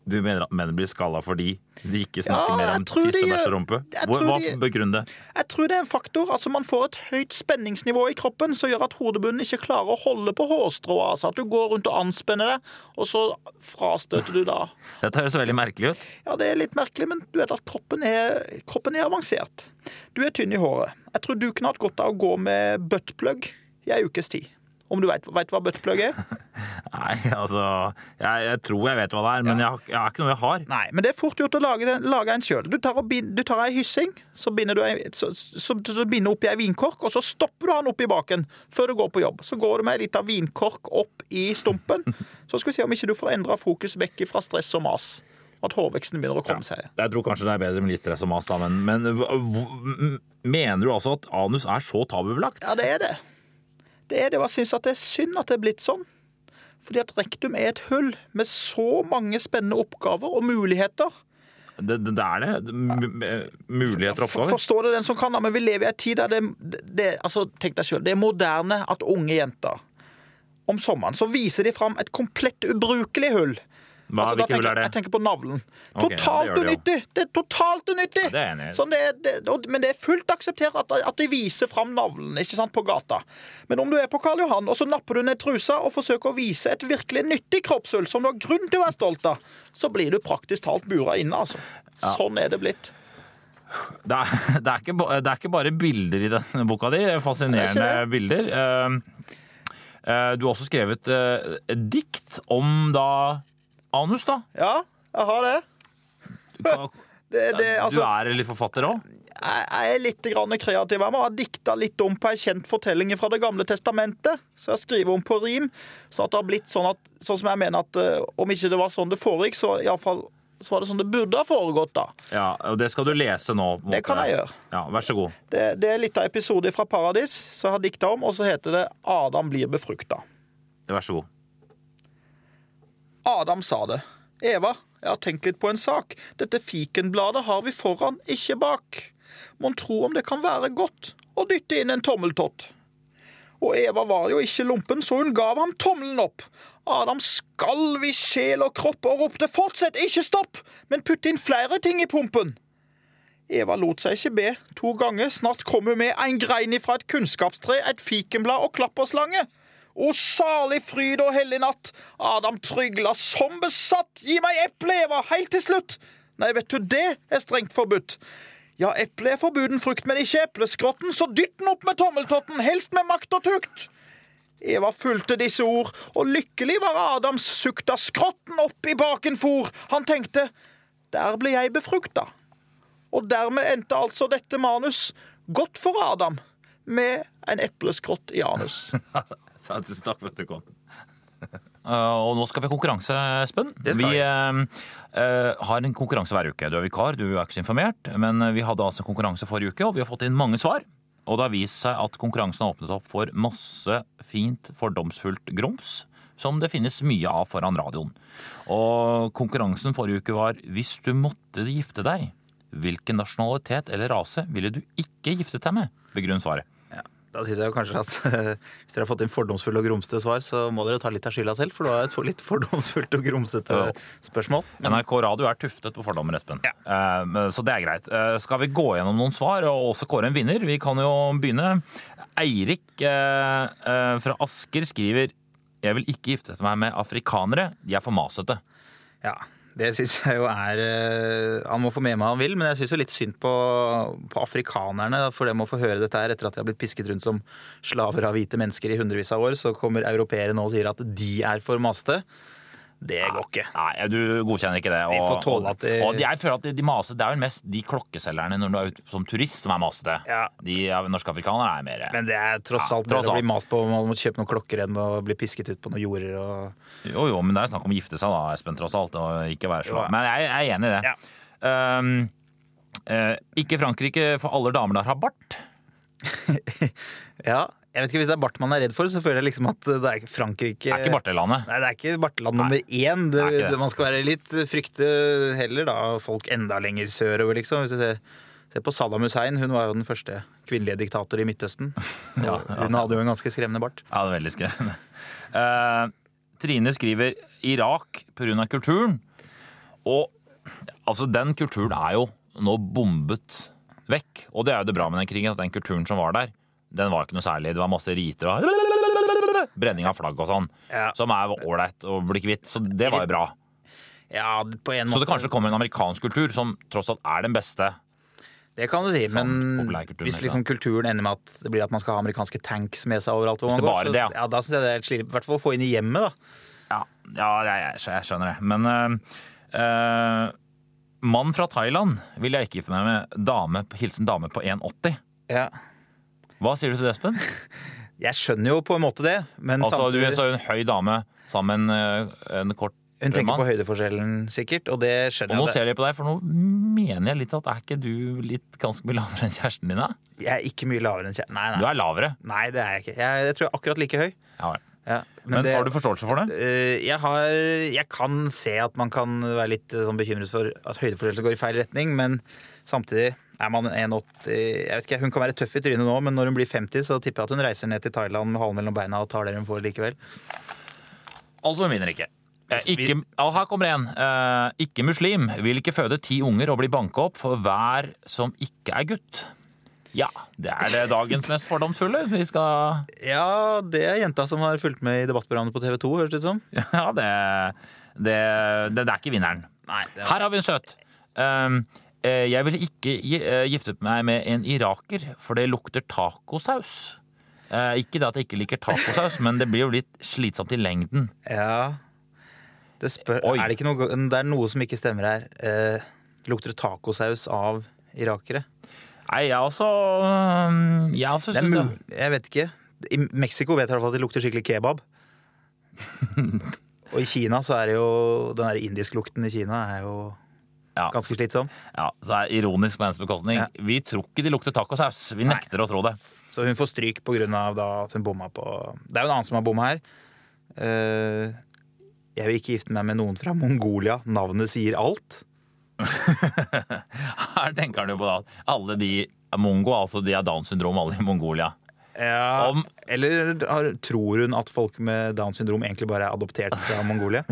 Speaker 3: Du mener at menn blir skalla fordi de ikke
Speaker 4: Ja,
Speaker 3: snakker mer
Speaker 4: jeg
Speaker 3: om
Speaker 4: tror de
Speaker 3: tiss og bæsj
Speaker 4: gjør-
Speaker 3: og rumpe?
Speaker 4: jeg
Speaker 3: Hvor-
Speaker 4: tror
Speaker 3: Hva
Speaker 4: de-
Speaker 3: begrunn det?
Speaker 4: Jeg tror det er en faktor. altså Man får et høyt spenningsnivå i kroppen som gjør at hodebunnen ikke klarer å holde på hårstrået. Altså at du går rundt og anspenner deg, og så frastøter du da.
Speaker 3: Dette høres veldig merkelig ut.
Speaker 4: Ja, det er litt merkelig, men du vet at kroppen er, kroppen er avansert. Du er tynn i håret. Jeg tror du kunne hatt godt av å gå med buttplug i ei ukes tid. Om du veit hva buttplug er?
Speaker 3: Nei, altså Jeg, jeg tror jeg vet hva det er, men jeg, har- jeg har ikke noe jeg har.
Speaker 4: Nei, men det er fort gjort å lage, den, lage en sjøl. Du, tar og bind- du tar ei hyssing, så binder du ei, så, så, så binder du oppi ei vinkork, og så stopper du han oppi baken før du går på jobb. Så går du med ei lita vinkork opp i stumpen, så skal vi se om ikke du får endra fokus vekk fra stress og mas. Og at hårveksten begynner å komme seg.
Speaker 3: Jeg tror kanskje det er bedre med litt stress og mas, da, men, men hva- hvor- mener du altså at anus er så tabubelagt?
Speaker 4: Ja, det er det. Det er det, og jeg syns at det er synd at det er blitt sånn. Fordi at rektum er et hull med så mange spennende oppgaver og muligheter.
Speaker 3: Det, det, det er det. M- m- Muligheter og
Speaker 4: For-
Speaker 3: oppgaver.
Speaker 4: Forstår du den som kan, da, men vi lever i en tid der det, det, det altså, Tenk deg selv, det er moderne at unge jenter om sommeren så viser de fram et komplett ubrukelig hull
Speaker 3: Hva,
Speaker 4: Altså, da
Speaker 3: hvilke hull er
Speaker 4: tenker, jeg-
Speaker 3: det?
Speaker 4: Jeg tenker på navlen.
Speaker 3: Ok, ja,
Speaker 4: totalt
Speaker 3: det gjør det
Speaker 4: unyttig! Det er totalt unyttig!
Speaker 3: det er jeg enig i.
Speaker 4: sånn det, er- det, og, men det er fullt akseptert at, at de viser fram navlen ikke sant, på gata. Men om du er på Karl Johan og så napper du ned trusa og forsøker å vise et virkelig nyttig kroppshull som du har grunn til å være stolt av, så blir du praktisk talt bura inne, altså. Sånn er det blitt.
Speaker 3: Det er, det, er ikke, ba- det er ikke bare bilder i denne boka di. Fascinerende
Speaker 4: Det er
Speaker 3: bilder. Eh, eh, Du har også skrevet eh, et dikt om da anus, da.
Speaker 4: Ja, jeg har det.
Speaker 3: Hva-
Speaker 4: det, det altså,
Speaker 3: Du er litt forfatter òg?
Speaker 4: jeg, jeg er litt grann kreativ. Jeg må ha dikta litt om på ei kjent fortelling fra Det gamle testamentet. Så jeg skriver om på rim. Så at det har blitt sånn at, sånn som jeg mener at eh, om ikke det var sånn det foregikk, så iallfall så var det sånn det burde ha foregått, da.
Speaker 3: Ja, og det skal du lese nå. på en
Speaker 4: Det
Speaker 3: måte.
Speaker 4: kan jeg gjøre.
Speaker 3: Ja, Vær så god.
Speaker 4: Det, det er litt av episode fra Paradis som jeg har dikta om, og så heter det 'Adam blir befrukta'.
Speaker 3: Vær så god.
Speaker 4: Adam sa det. Eva, jeg har tenkt litt på en sak. Dette fikenbladet har vi foran, ikke bak. Mon tro om det kan være godt å dytte inn en tommeltott. Og Eva var jo ikke lumpen, så hun gav ham tommelen opp. Adam skalv i sjel og kropp og ropte fortsett, ikke stopp, men putt inn flere ting i pumpen. Eva lot seg ikke be. To ganger snart kom hun med en grein ifra et kunnskapstre, et fikenblad og klapperslange. O salig fryd og hellig natt. Adam trygla som besatt. Gi meg eple, Eva, helt til slutt. Nei, vet du, det er strengt forbudt. Ja, eple er forbuden frukt, men ikke epleskrotten, så dytt den opp med tommeltotten, helst med makt og tukt. Eva fulgte disse ord, og lykkelig var Adams sukk da skrotten opp i baken for. Han tenkte, der ble jeg befrukta. Og dermed endte altså dette manus, godt for Adam, med en epleskrott i anus.
Speaker 3: Ja, Tusen takk for at du kom. Eh, og nå skal vi ha konkurranse, Espen.
Speaker 2: Det skal
Speaker 3: vi eh, eh, har en konkurranse hver uke. Du er vikar, du er ikke så informert. Men vi hadde altså en konkurranse forrige uke, og vi har fått inn mange svar. Og det har vist seg at konkurransen har åpnet opp for masse fint, fordomsfullt grums. Som det finnes mye av foran radioen. Og konkurransen forrige uke var hvis du måtte gifte deg, hvilken nasjonalitet eller rase ville du ikke giftet deg med? Begrunn svaret.
Speaker 2: Da synes jeg jo kanskje at eh, hvis dere har fått inn fordomsfulle og grumsete svar, så må dere ta litt av skylda selv, for det var et for- litt fordomsfullt og grumsete spørsmål.
Speaker 3: NRK Radio er tuftet på fordommer, Espen. Eh, men- så det er greit. Eh, skal vi gå gjennom noen svar og også kåre en vinner? Vi kan jo begynne. Eirik eh, eh, fra Asker skriver Jeg vil ikke gifte meg med afrikanere. De er for masete.
Speaker 2: Ja, det syns jeg jo er eh, Han må få med meg han vil, men jeg syns jo litt synd på, på afrikanerne. For de må få høre dette her etter at de har blitt pisket rundt som slaver av hvite mennesker i hundrevis av år. Så kommer europeere nå og sier at de er for masete. Det går ikke.
Speaker 3: Nei, du godkjenner ikke det. Og,
Speaker 2: Vi får tåle at det-
Speaker 3: og, og de, jeg føler at de, de maser, Det er vel mest de klokkeselgerne når du er ute som turist som er masete.
Speaker 2: Ja.
Speaker 3: De er- norske afrikanere er mer
Speaker 2: Men det er tross
Speaker 3: Ja,
Speaker 2: alt bedre
Speaker 3: tross
Speaker 2: å
Speaker 3: alt.
Speaker 2: bli mast på om man må kjøpe noen klokker enn å bli pisket ut på noen jorder og
Speaker 3: Jo, jo, men det er snakk om å gifte seg, da, Espen, tross alt. Og ikke være
Speaker 2: Jo,
Speaker 3: så
Speaker 2: ja.
Speaker 3: Men jeg, jeg er enig i det. Ehm, eh, ikke Frankrike, for alle damer der har bart.
Speaker 2: Ja, jeg vet ikke hvis det er bart man er redd for, så føler jeg liksom at det er ikke Frankrike
Speaker 3: Det er ikke bartelandet.
Speaker 2: Eh, Nei, det er ikke barteland nummer én. Det,
Speaker 3: det er ikke det.
Speaker 2: det. Man skal være litt eh, frykte heller da folk enda lenger sørover, liksom. Hvis du ser, ser på Saddam Hussein, hun var jo den første kvinnelige diktator i Midtøsten. Og Hun hadde jo en ganske skremmende bart.
Speaker 3: Ja, det er veldig skremmende. Eh, Trine skriver Irak pga. kulturen. Og altså, den kulturen er jo nå bombet vekk. Og det er jo det bra med den krigen, at den kulturen som var der, den var ikke noe særlig. Det var masse riter og brenning av flagg og sånn,
Speaker 2: Ja.
Speaker 3: som er ålreit å bli kvitt. Så det var jo bra.
Speaker 2: Ja, på en
Speaker 3: Så det
Speaker 2: måte.
Speaker 3: kanskje kommer en amerikansk kultur som tross alt er den beste.
Speaker 2: Det kan du si,
Speaker 3: Sånn
Speaker 2: men
Speaker 3: populærkulturen,
Speaker 2: hvis
Speaker 3: liksom.
Speaker 2: liksom kulturen ender med at det blir at man skal ha amerikanske tanks med seg overalt hvor
Speaker 3: Hvis
Speaker 2: man
Speaker 3: det
Speaker 2: går,
Speaker 3: bare det, ja.
Speaker 2: ja, da syns jeg det er litt slitsomt. I hvert fall å få inn i hjemmet, da.
Speaker 3: Ja, ja jeg, jeg, skjø- jeg skjønner det. Men eh, eh, mann fra Thailand vil jeg ikke gifte meg med. Dame, hilsen dame på 1,80.
Speaker 2: Ja.
Speaker 3: Hva sier du til det, Espen?
Speaker 2: Jeg skjønner jo på en måte det, men
Speaker 3: Altså, du
Speaker 2: samtidig
Speaker 3: er så en høy dame sammen med en, eh, en kort
Speaker 2: Hun tenker på
Speaker 3: mann.
Speaker 2: høydeforskjellen sikkert, og det skjønner
Speaker 3: Og nå
Speaker 2: jeg. at
Speaker 3: ser jeg på deg, for nå mener jeg litt at er ikke du litt ganske mye lavere enn kjæresten din? Da?
Speaker 2: Jeg er ikke mye lavere enn kjæresten. Nei,
Speaker 3: Du
Speaker 2: nei.
Speaker 3: er lavere.
Speaker 2: nei, det er jeg ikke. Jeg, jeg tror jeg er akkurat like høy.
Speaker 3: Ja, vel.
Speaker 2: Ja,
Speaker 3: Men, har du forståelse for det?
Speaker 2: Eh, jeg, har, jeg kan se at man kan være litt eh, sånn bekymret for at høydeforskjellelse går i feil retning, men samtidig er man 1,80 Jeg vet ikke, Hun kan være tøff i trynet nå, men når hun blir 50, så tipper jeg at hun reiser ned til Thailand med halen mellom beina og tar det hun får likevel.
Speaker 3: Altså, hun vinner ikke. Eh, Ikke, Al, her kommer en. Eh, ikke muslim. Vil ikke føde ti unger og bli banka opp for hver som ikke er gutt. Ja, det er det dagens mest fordomsfulle. Vi skal
Speaker 4: Ja, det er jenta som har fulgt med i debattprogrammet på TV 2, høres det ut som.
Speaker 3: Ja, det Det, det, det er ikke vinneren. Her har vi en søt. Um, eh, jeg ville ikke gi- eh, giftet meg med en iraker, for det lukter tacosaus. Eh, ikke det at jeg ikke liker tacosaus, men det blir jo litt slitsomt i lengden.
Speaker 4: Ja. Det spør,
Speaker 3: Oi.
Speaker 4: er det, ikke noe, det er noe som ikke stemmer her. Eh, lukter det tacosaus av irakere?
Speaker 3: Nei, jeg også, um, jeg også
Speaker 4: Det er
Speaker 3: synes
Speaker 4: mulig. Jeg vet ikke. I Mexico vet jeg i hvert fall at det lukter skikkelig kebab. Og i Kina så er det jo Den der indisklukten i Kina er jo
Speaker 3: Ja.
Speaker 4: ganske slitsom.
Speaker 3: Ja, så det er ironisk på hennes bekostning.
Speaker 4: Ja.
Speaker 3: Vi tror ikke de lukter tacosaus. Vi nekter å tro det.
Speaker 4: Så hun får stryk på grunn av da at hun bomma på Det er jo en annen som har bomma her. Eh, jeg vil ikke gifte meg med noen fra Mongolia. Navnet sier alt.
Speaker 3: Her tenker han jo på da at alle de er mongo, altså de har Downs syndrom, alle i Mongolia.
Speaker 4: Ja,
Speaker 3: Om-
Speaker 4: Eller har, tror hun at folk med Downs syndrom egentlig bare er adoptert fra Mongolia?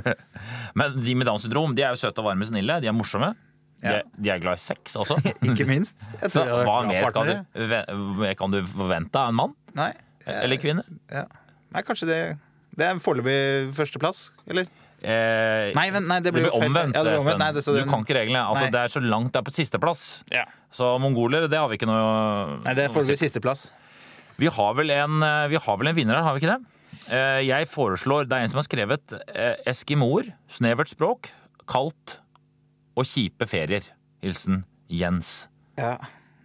Speaker 3: Men de med Downs syndrom de er jo søte og varme og snille. De er morsomme. De,
Speaker 4: Ja.
Speaker 3: er- de er glad i sex også.
Speaker 4: Ikke minst. Jeg
Speaker 3: Så
Speaker 4: tror jeg
Speaker 3: hva
Speaker 4: hadde vært bra
Speaker 3: mer skal du,
Speaker 4: partnere.
Speaker 3: ve- mer kan du forvente av en mann?
Speaker 4: Nei, Eh,
Speaker 3: Eller kvinne?
Speaker 4: ja. Nei, kanskje det Det er foreløpig førsteplass, eller?
Speaker 3: Eh,
Speaker 4: Nei, vent, nei, det blir jo feil.
Speaker 3: omvendt.
Speaker 4: Ja, det blir
Speaker 3: Espen.
Speaker 4: omvendt. Nei, det- så den-
Speaker 3: Du kan ikke reglene. Altså,
Speaker 4: Nei.
Speaker 3: det er så langt det er på sisteplass.
Speaker 4: Ja.
Speaker 3: Så mongoler, det har vi ikke noe
Speaker 4: Nei, det er
Speaker 3: noe å si
Speaker 4: foreløpig sisteplass.
Speaker 3: Vi har vel en, eh, vi har vel en vinner her, har vi ikke det? Eh, Jeg foreslår, det er en som har skrevet eh, Eskimoer, snevert språk, kaldt og kjipe ferier. Hilsen Jens.
Speaker 4: Ja.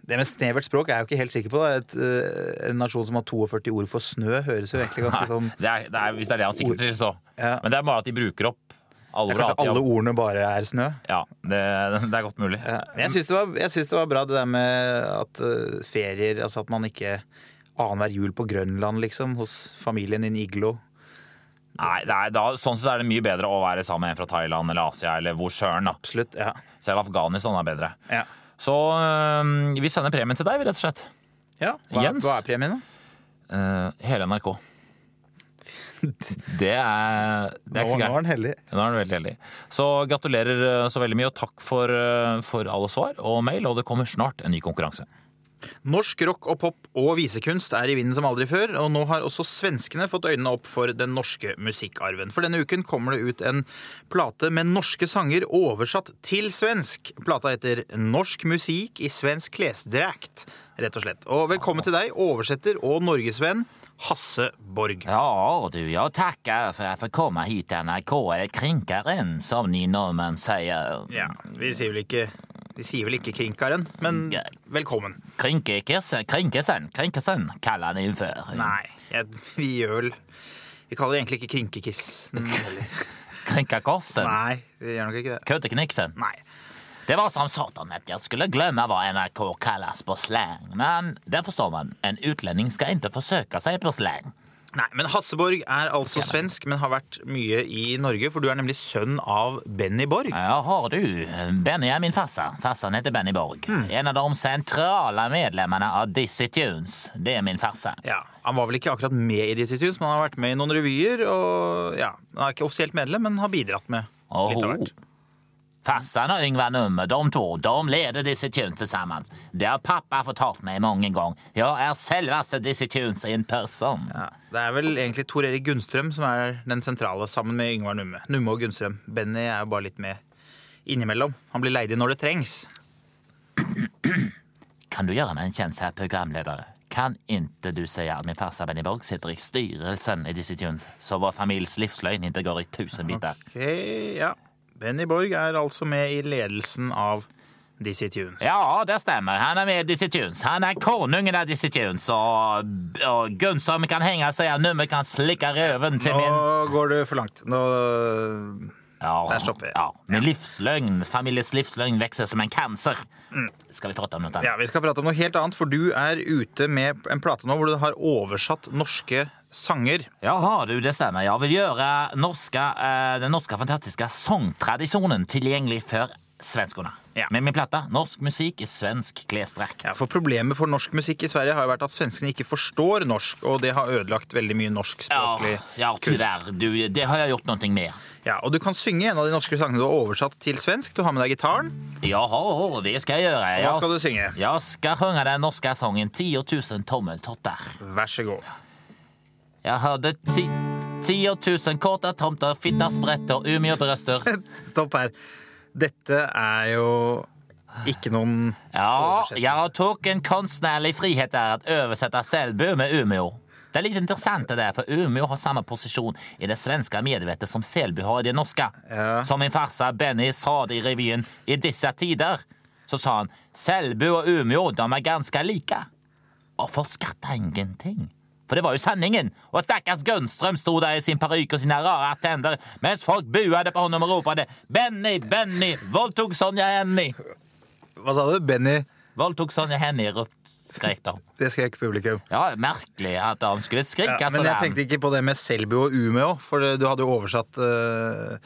Speaker 4: Det med snevert språk er jeg jo ikke helt sikker på. da. Et, eh, en nasjon som har 42 ord for snø, høres jo egentlig ganske sånn
Speaker 3: Det er, det er, hvis det er det han sikter til, så.
Speaker 4: Ja.
Speaker 3: Men det er bare at de bruker opp alle
Speaker 4: Det er kanskje
Speaker 3: ordene.
Speaker 4: alle ordene bare er snø.
Speaker 3: Ja, det, det er godt mulig.
Speaker 4: Men jeg syns det, var- jeg syns det var bra det der med at eh, ferier Altså at man ikke annenhver jul på Grønland, liksom, hos familien i en iglo.
Speaker 3: Nei, det er, da, sånn sett er det mye bedre å være sammen med en fra Thailand eller Asia eller hvor søren. da.
Speaker 4: Absolutt. Ja.
Speaker 3: Selv Afghanistan er bedre.
Speaker 4: ja.
Speaker 3: Så eh, vi sender premien til deg, vi, rett og slett.
Speaker 4: Hva,
Speaker 3: Jens?
Speaker 4: hva er premien, da?
Speaker 3: Eh, hele NRK. Det er, det er ikke så gærent.
Speaker 4: den heldig.
Speaker 3: Nå er du veldig heldig. Så gratulerer eh, så veldig mye, og takk for, eh, for alle svar og mail. Og det kommer snart en ny konkurranse.
Speaker 4: Norsk rock og pop og visekunst er i vinden som aldri før, og nå har også svenskene fått øynene opp for den norske musikkarven. For denne uken kommer det ut en plate med norske sanger oversatt til svensk. Plata heter Norsk musikk i svensk klesdrakt, rett og slett. Og velkommen til deg, oversetter og norgesvenn Hasse Borg.
Speaker 3: Ja, du, jeg takker for at jeg får komme hit til NRK eller Krinkeren, som ni nordmenn sier.
Speaker 4: Ja, vi sier vel ikke vi sier vel ikke Krinkaren, men
Speaker 3: Ja.
Speaker 4: velkommen.
Speaker 3: Krinkesen, krinkesen, krinkesen, kaller han det for.
Speaker 4: Nei, jeg, vi gjør vel Vi kaller det egentlig ikke Krinkekissen. eller-
Speaker 3: Krinkakorsen,
Speaker 4: Nei, vi gjør nok ikke det.
Speaker 3: køtekniksen.
Speaker 4: Nei.
Speaker 3: Det var som satan att jag skulle glömma vad NRK kallas på slang. Men det förstår man, en utlänning ska inte försöka sig på slang.
Speaker 4: Nei, men Hasseborg er altså svensk, men har vært mye i Norge, for du er nemlig sønn av Benny Borg.
Speaker 3: Ja, har du. Benny är min farsa. Farsan heter Benny Borg.
Speaker 4: Hmm.
Speaker 3: En av de centrala medlemmarna av Dizzy Tunes. Det är min farsa.
Speaker 4: Ja, Han var vel ikke akkurat med i Dizzie Tunes, men han har vært med i noen revyer. og ja, Han er ikke offisielt medlem, men har bidratt med litt av
Speaker 3: Oho.
Speaker 4: hvert.
Speaker 3: Farsan och Yngvar Nummer, de två, de leder Dizzy Tunes tillsammans. Det har pappa förtalt mig många gånger. Jag är självaste Dizzy Tunes in person.
Speaker 4: Ja, det er vel egentlig Tor Erik Gunnstrøm som er den sentrale, sammen med Yngvar Numme. Numme og Gunnstrøm. Benny er jo bare litt med innimellom. Han blir leid inn når det trengs.
Speaker 3: Kan du gjøre meg en tjeneste her, programleder? Kan ikke du si at min farsa Benny Borg sitter i styrelsen i Dizzie Tunes, så vår families livsløgn ikke går i tusen biter?
Speaker 4: Ok, ja. Benny Borg er altså med i ledelsen av Dizzie Tunes.
Speaker 3: Ja, det stemmer. Han er med i Dizzie Tunes. Han er konungen av Dizzie Tunes, og, og Gunsholm kan henge seg, og Nummer kan slikke røven til min
Speaker 4: Nå går du for langt. Nå
Speaker 3: Ja,
Speaker 4: der stopper vi.
Speaker 3: ja. Min livsløgn, families livsløgn, vokser som en cancer.
Speaker 4: Mm.
Speaker 3: Skal vi prate om noe annet?
Speaker 4: Ja, Vi skal prate om noe helt annet, for du er ute med en plate nå hvor du har oversatt norske sanger.
Speaker 3: Jaha, du, det stemmer. Jeg vil gjøre norska, eh, den norske fantastiske sangtradisjonen tilgjengelig for svenskorna.
Speaker 1: Ja.
Speaker 3: Med min platta 'Norsk musikk i svensk klesdrakt'.
Speaker 2: Ja, for Problemet for norsk musikk i Sverige har jo vært at svenskene ikke forstår norsk, og det har ødelagt veldig mye norskspråklig
Speaker 3: Ja, ja tyvärr. Du, det har jeg gjort noe med.
Speaker 2: Ja, og du kan synge en av de norske sangene du har oversatt til svensk. Du har med deg gitaren.
Speaker 3: Jaha, det skal jeg gjøre.
Speaker 2: Hva skal du synge?
Speaker 3: Jeg skal synge den norske sangen 10 000 tommeltotter.
Speaker 2: Vær så god.
Speaker 3: Jeg hadde ti, 10 000 korte tomter, fitter, spretter, umiøbrøster.
Speaker 2: Stopp her. Dette er jo ikke noen
Speaker 3: Ja,
Speaker 2: Oversett.
Speaker 3: jeg tok en kunstnerlig frihet der at oversette Selbu med Umeå. Det er litt interessant det der, for Umeå har samme posisjon i det svenske medvetet som Selbu har i det norske.
Speaker 2: Ja.
Speaker 3: Som min farsa Benny sa det i revyen i disse tider, så sa han Selbu og Umeå, de er ganske like. Og folk skatta ingenting. For det var jo sanningen. Og stakkars Gunnstrøm sto der i sin parykk og sine rare tenner, mens folk buade på ham og ropte 'Benny, Benny, voldtok Sonja Henny'.
Speaker 2: Hva sa du? Benny?
Speaker 3: Voldtok Sonja Henny, ropte skrek de.
Speaker 2: Det skrek publikum.
Speaker 3: Ja, merkelig at de skulle skrike
Speaker 2: Ja, men
Speaker 3: sånn.
Speaker 2: jeg tenkte ikke på Altså, det med Selbu og Umeå, for du hadde jo oversatt eh,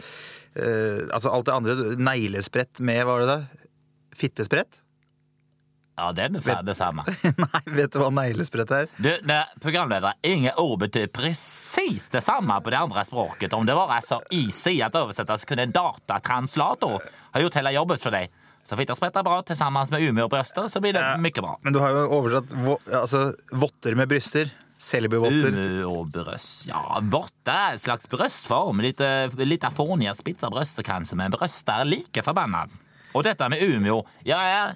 Speaker 2: eh, Altså alt det andre. Neglesprett med, hva var det da? Fittesprett?
Speaker 3: Ja, det er ungefär detsamma.
Speaker 2: Nei, vet du hva neglesprett er?
Speaker 3: Du, ne, programledare, inga ord betyder precis detsamma på det andra språket. Om det var så easy att översätta så kunde en datatranslator ha gjort hela jobbet för dig. Så fick jag sprätta bra tillsammans med Umeå bröster så blir det mycket bra.
Speaker 2: Men du har jo oversatt vo altså, votter med bryster.
Speaker 1: Mm.
Speaker 2: Selbuvotter.
Speaker 3: Umeå bröst, ja, vårta är en slags eh, bröstform. Lite, lite fåniga spitsa bröster kanske, men bröst är lika förbannad. Och detta med Umeå, jag är...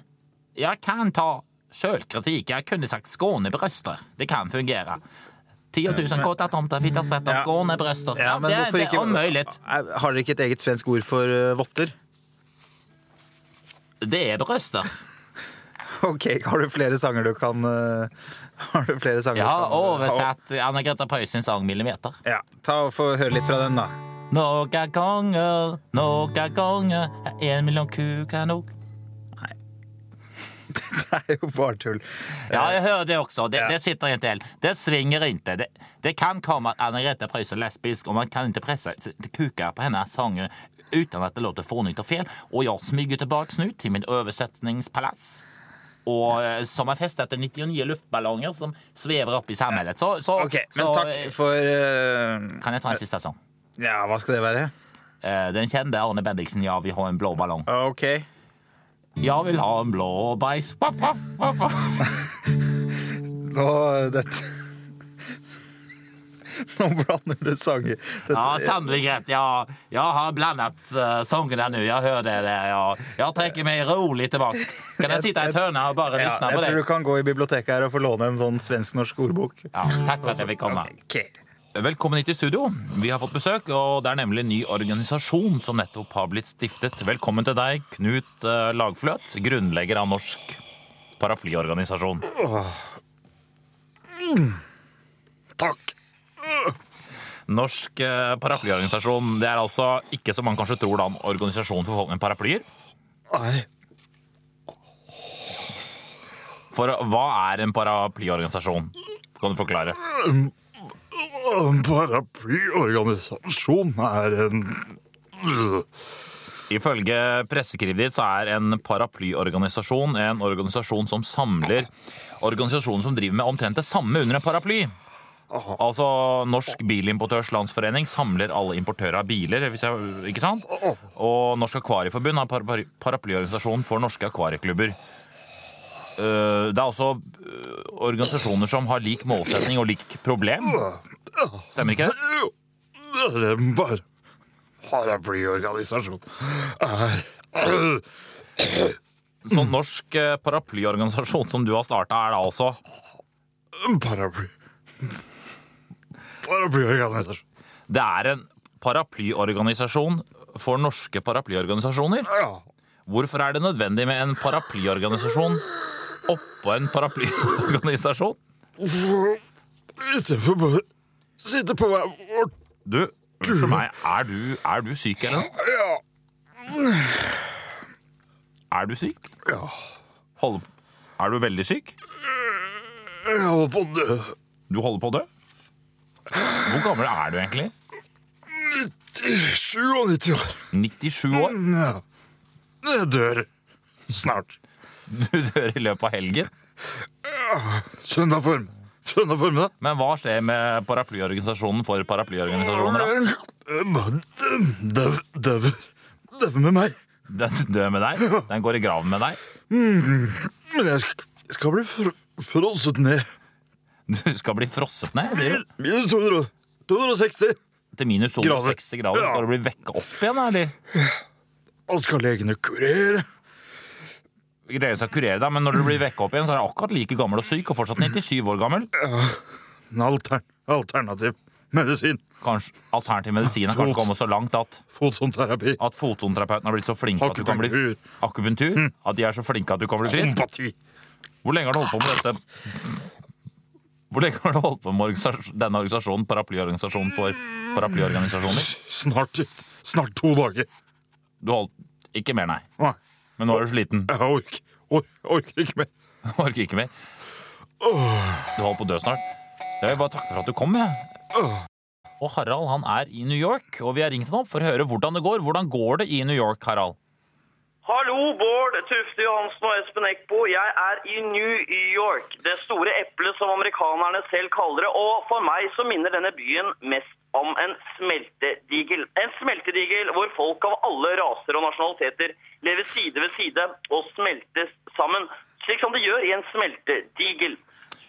Speaker 3: Jag kan ta kölkritik. Jag kunde sagt Skånebröster. Det kan fungera. 10 000 korta tomtar, fitta sprätta,
Speaker 2: Ja.
Speaker 3: Skånebröster. Ja, det, är- det är omöjligt.
Speaker 2: Er- Eh, Har dere ikke et eget svensk ord for eh, votter?
Speaker 3: Det är bröster.
Speaker 2: Ok, har du flere sanger du kan eh, Har du flere sanger
Speaker 3: Jag
Speaker 2: du kan,
Speaker 3: har översatt Anna-Greta Preusins sång Millimeter.
Speaker 2: Ja, ta og få høre litt fra den, da.
Speaker 3: Några gånger, några gånger är en miljon kukar nog.
Speaker 2: Det er jo bare tull.
Speaker 3: Ja, jeg hører det også. Det,
Speaker 2: Eh, Ja.
Speaker 3: det sitter ikke helt. Det svinger ikke. Det, det kan komme at Anne-Grete Preus er lesbisk, og man kan ikke presse s- kuker på hennes sanger uten at det låter fånig og feil. Og jeg smyger tilbake nå til min oversetningspalass. Og eh, som har festet til 99 luftballonger som svever opp i samfunnet. Så, så,
Speaker 2: Ok, men
Speaker 3: så eh,
Speaker 2: takk for eh,
Speaker 3: kan jeg ta en siste sang?
Speaker 2: Ja, hva skal det være?
Speaker 3: Eh, Den kjente Arne Bendiksen, 'Ja, vi har en blå ballong'.
Speaker 2: Ok.
Speaker 3: Ja, vil ha en blå bæsj. Voff, voff, voff, voff.
Speaker 2: Nå dette Nå blander du sanger. Dette,
Speaker 3: Ja, sannolikt. rätt. Jag, jag har blandat uh, sångerna nu. Jag hör det. Där. Jag, jag sträcker mig roligt tillbaka. Kan jag sitta i ett hörn och bara
Speaker 2: ja,
Speaker 3: lyssna på
Speaker 2: jeg tror
Speaker 3: det?
Speaker 2: du kan gå i biblioteket her og få låne en sånn svensk-norsk ordbok.
Speaker 3: Ja, tack för att jag fick komma.
Speaker 2: Ok.
Speaker 3: Velkommen hit i studio. Vi har fått besøk, og det er nemlig en ny organisasjon som nettopp har blitt stiftet. Velkommen til deg, Knut eh, Lagfløt, grunnlegger av Norsk paraplyorganisasjon.
Speaker 1: Takk.
Speaker 3: Norsk eh, paraplyorganisasjon, det er altså ikke som man kanskje tror da, en organisasjon for folk med paraplyer. For hva er en paraplyorganisasjon? Kan du forklare?
Speaker 1: En paraplyorganisasjon er en
Speaker 3: Ifølge presseskrivet ditt så er en paraplyorganisasjon en organisasjon som samler organisasjoner som driver med omtrent det samme under en paraply. Altså Norsk Bilimportørs Landsforening samler alle importører av biler, hvis jeg, ikke sant? Og Norsk Akvarieforbund har par- par- paraplyorganisasjon for norske akvarieklubber. Eh, Det er også eh, organisasjoner som har lik målsetning og lik problem. Stemmer ikke det?
Speaker 1: En par- paraplyorganisasjon er
Speaker 3: Så norsk eh, paraplyorganisasjon som du har starta, er da altså
Speaker 1: en paraply... Paraplyorganisasjon.
Speaker 3: Det er en paraplyorganisasjon for norske paraplyorganisasjoner.
Speaker 1: Ja.
Speaker 3: Hvorfor er det nødvendig med en paraplyorganisasjon oppå en paraplyorganisasjon?
Speaker 1: Istedenfor bare sitte på hver vårt
Speaker 3: Du, unnskyld meg, er du, er du syk eller noe? Er du syk?
Speaker 1: Ja.
Speaker 3: Hold, er du veldig syk?
Speaker 1: Jeg holder på å dø.
Speaker 3: Du holder på å dø? Hvor gammel er du egentlig?
Speaker 1: 97 år.
Speaker 3: 97 år?
Speaker 1: Ja. Jeg dør snart.
Speaker 3: Du dør i løpet av helgen.
Speaker 1: Søndag form. Søndag formiddag.
Speaker 3: Men hva skjer med paraplyorganisasjonen for paraplyorganisasjoner? da?
Speaker 1: Eh, Døv, døv, døv med meg.
Speaker 3: Den dør med deg? Den går i graven med deg?
Speaker 1: Men jeg sk- skal bli fr frosset ned.
Speaker 3: Du skal bli frosset ned sier du?
Speaker 1: Minus 200 260.
Speaker 3: til minus 260 grader?
Speaker 1: Ja.
Speaker 3: Skal du bli vekket opp igjen? eller?
Speaker 1: Og skal legene kurere?
Speaker 3: Greia skal kurere deg, men når du blir vekket opp igjen, så er du akkurat like gammel og syk, og fortsatt 97 år gammel.
Speaker 1: En altern alternativ medisin.
Speaker 3: Kanskje alternativ medisin har kanskje kommet så langt at,
Speaker 1: Fotsånterapi.
Speaker 3: at fotonterapeuten har blitt så flink at du kan bli
Speaker 1: Akupunktur. Hm.
Speaker 3: akupunktur? At de er så flinke at du kan bli frisk?
Speaker 1: Kompati.
Speaker 3: Hvor lenge har du holdt på med dette? Hvor lenge har du holdt på med organisas- denne organisasjonen, paraplyorganisasjonen for paraplyorganisasjoner?
Speaker 1: Snart, snart to dager.
Speaker 3: Du holdt ikke mer, nei.
Speaker 1: Nei,
Speaker 3: Men nå er du sliten.
Speaker 1: jeg orker, or orker ikke mer.
Speaker 3: Du orker ikke mer. Du holder på å dø snart. Jeg vil bare takke for at du kom, jeg. Og Harald han er i New York, og vi har ringt han opp for å høre hvordan det går. Hvordan går det i New York, Harald?
Speaker 6: Hallo, Bård Tufte Johansen og Espen Eckbo. Jeg er i New York, det store eplet som amerikanerne selv kaller det. Og for meg så minner denne byen mest om en smeltedigel. En smeltedigel hvor folk av alle raser og nasjonaliteter lever side ved side og smeltes sammen. Slik som de gjør i en smeltedigel.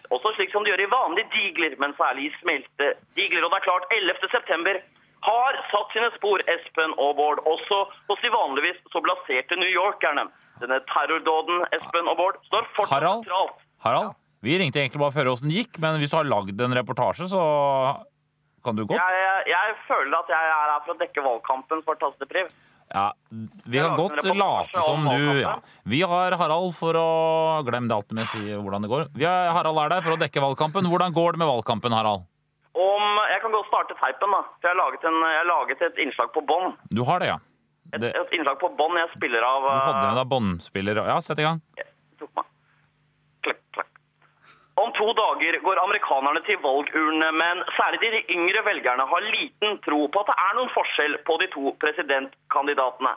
Speaker 6: Også slik som de gjør i vanlige digler, men særlig i smeltedigler. Og det er klart, 11. september har satt sine spor, Espen og Bård, også hos de vanligvis så blaserte newyorkerne. Denne terrordåden, Espen og Bård, står fortsatt
Speaker 3: Harald?
Speaker 6: sentralt.
Speaker 3: Harald? Vi ringte egentlig bare for å høre åssen det gikk, men hvis du har lagd en reportasje, så kan du godt.
Speaker 6: Jeg, jeg føler at jeg er her for å dekke valgkampen for Tastepriv.
Speaker 3: Ja, vi kan
Speaker 6: Jeg lagde en
Speaker 3: godt
Speaker 6: reportasje
Speaker 3: late som
Speaker 6: om
Speaker 3: du
Speaker 6: valgkampen.
Speaker 3: ja. Vi har Harald for å Glem det alltid med å si hvordan det går. Vi har, Harald er der for å dekke valgkampen. Hvordan går det med valgkampen, Harald?
Speaker 6: Om, jeg kan godt starte teipen, da. For jeg har laget, en, jeg har laget et innslag på bånd.
Speaker 3: Du har det, ja? Det,
Speaker 6: Et innslag på bånd jeg spiller av
Speaker 3: du hadde
Speaker 6: eh,
Speaker 3: med deg båndspiller og Ja, sett i gang.
Speaker 6: tok meg. Klakk, klakk. Om to dager går amerikanerne til valgurnene, men særlig de yngre velgerne har liten tro på at det er noen forskjell på de to presidentkandidatene.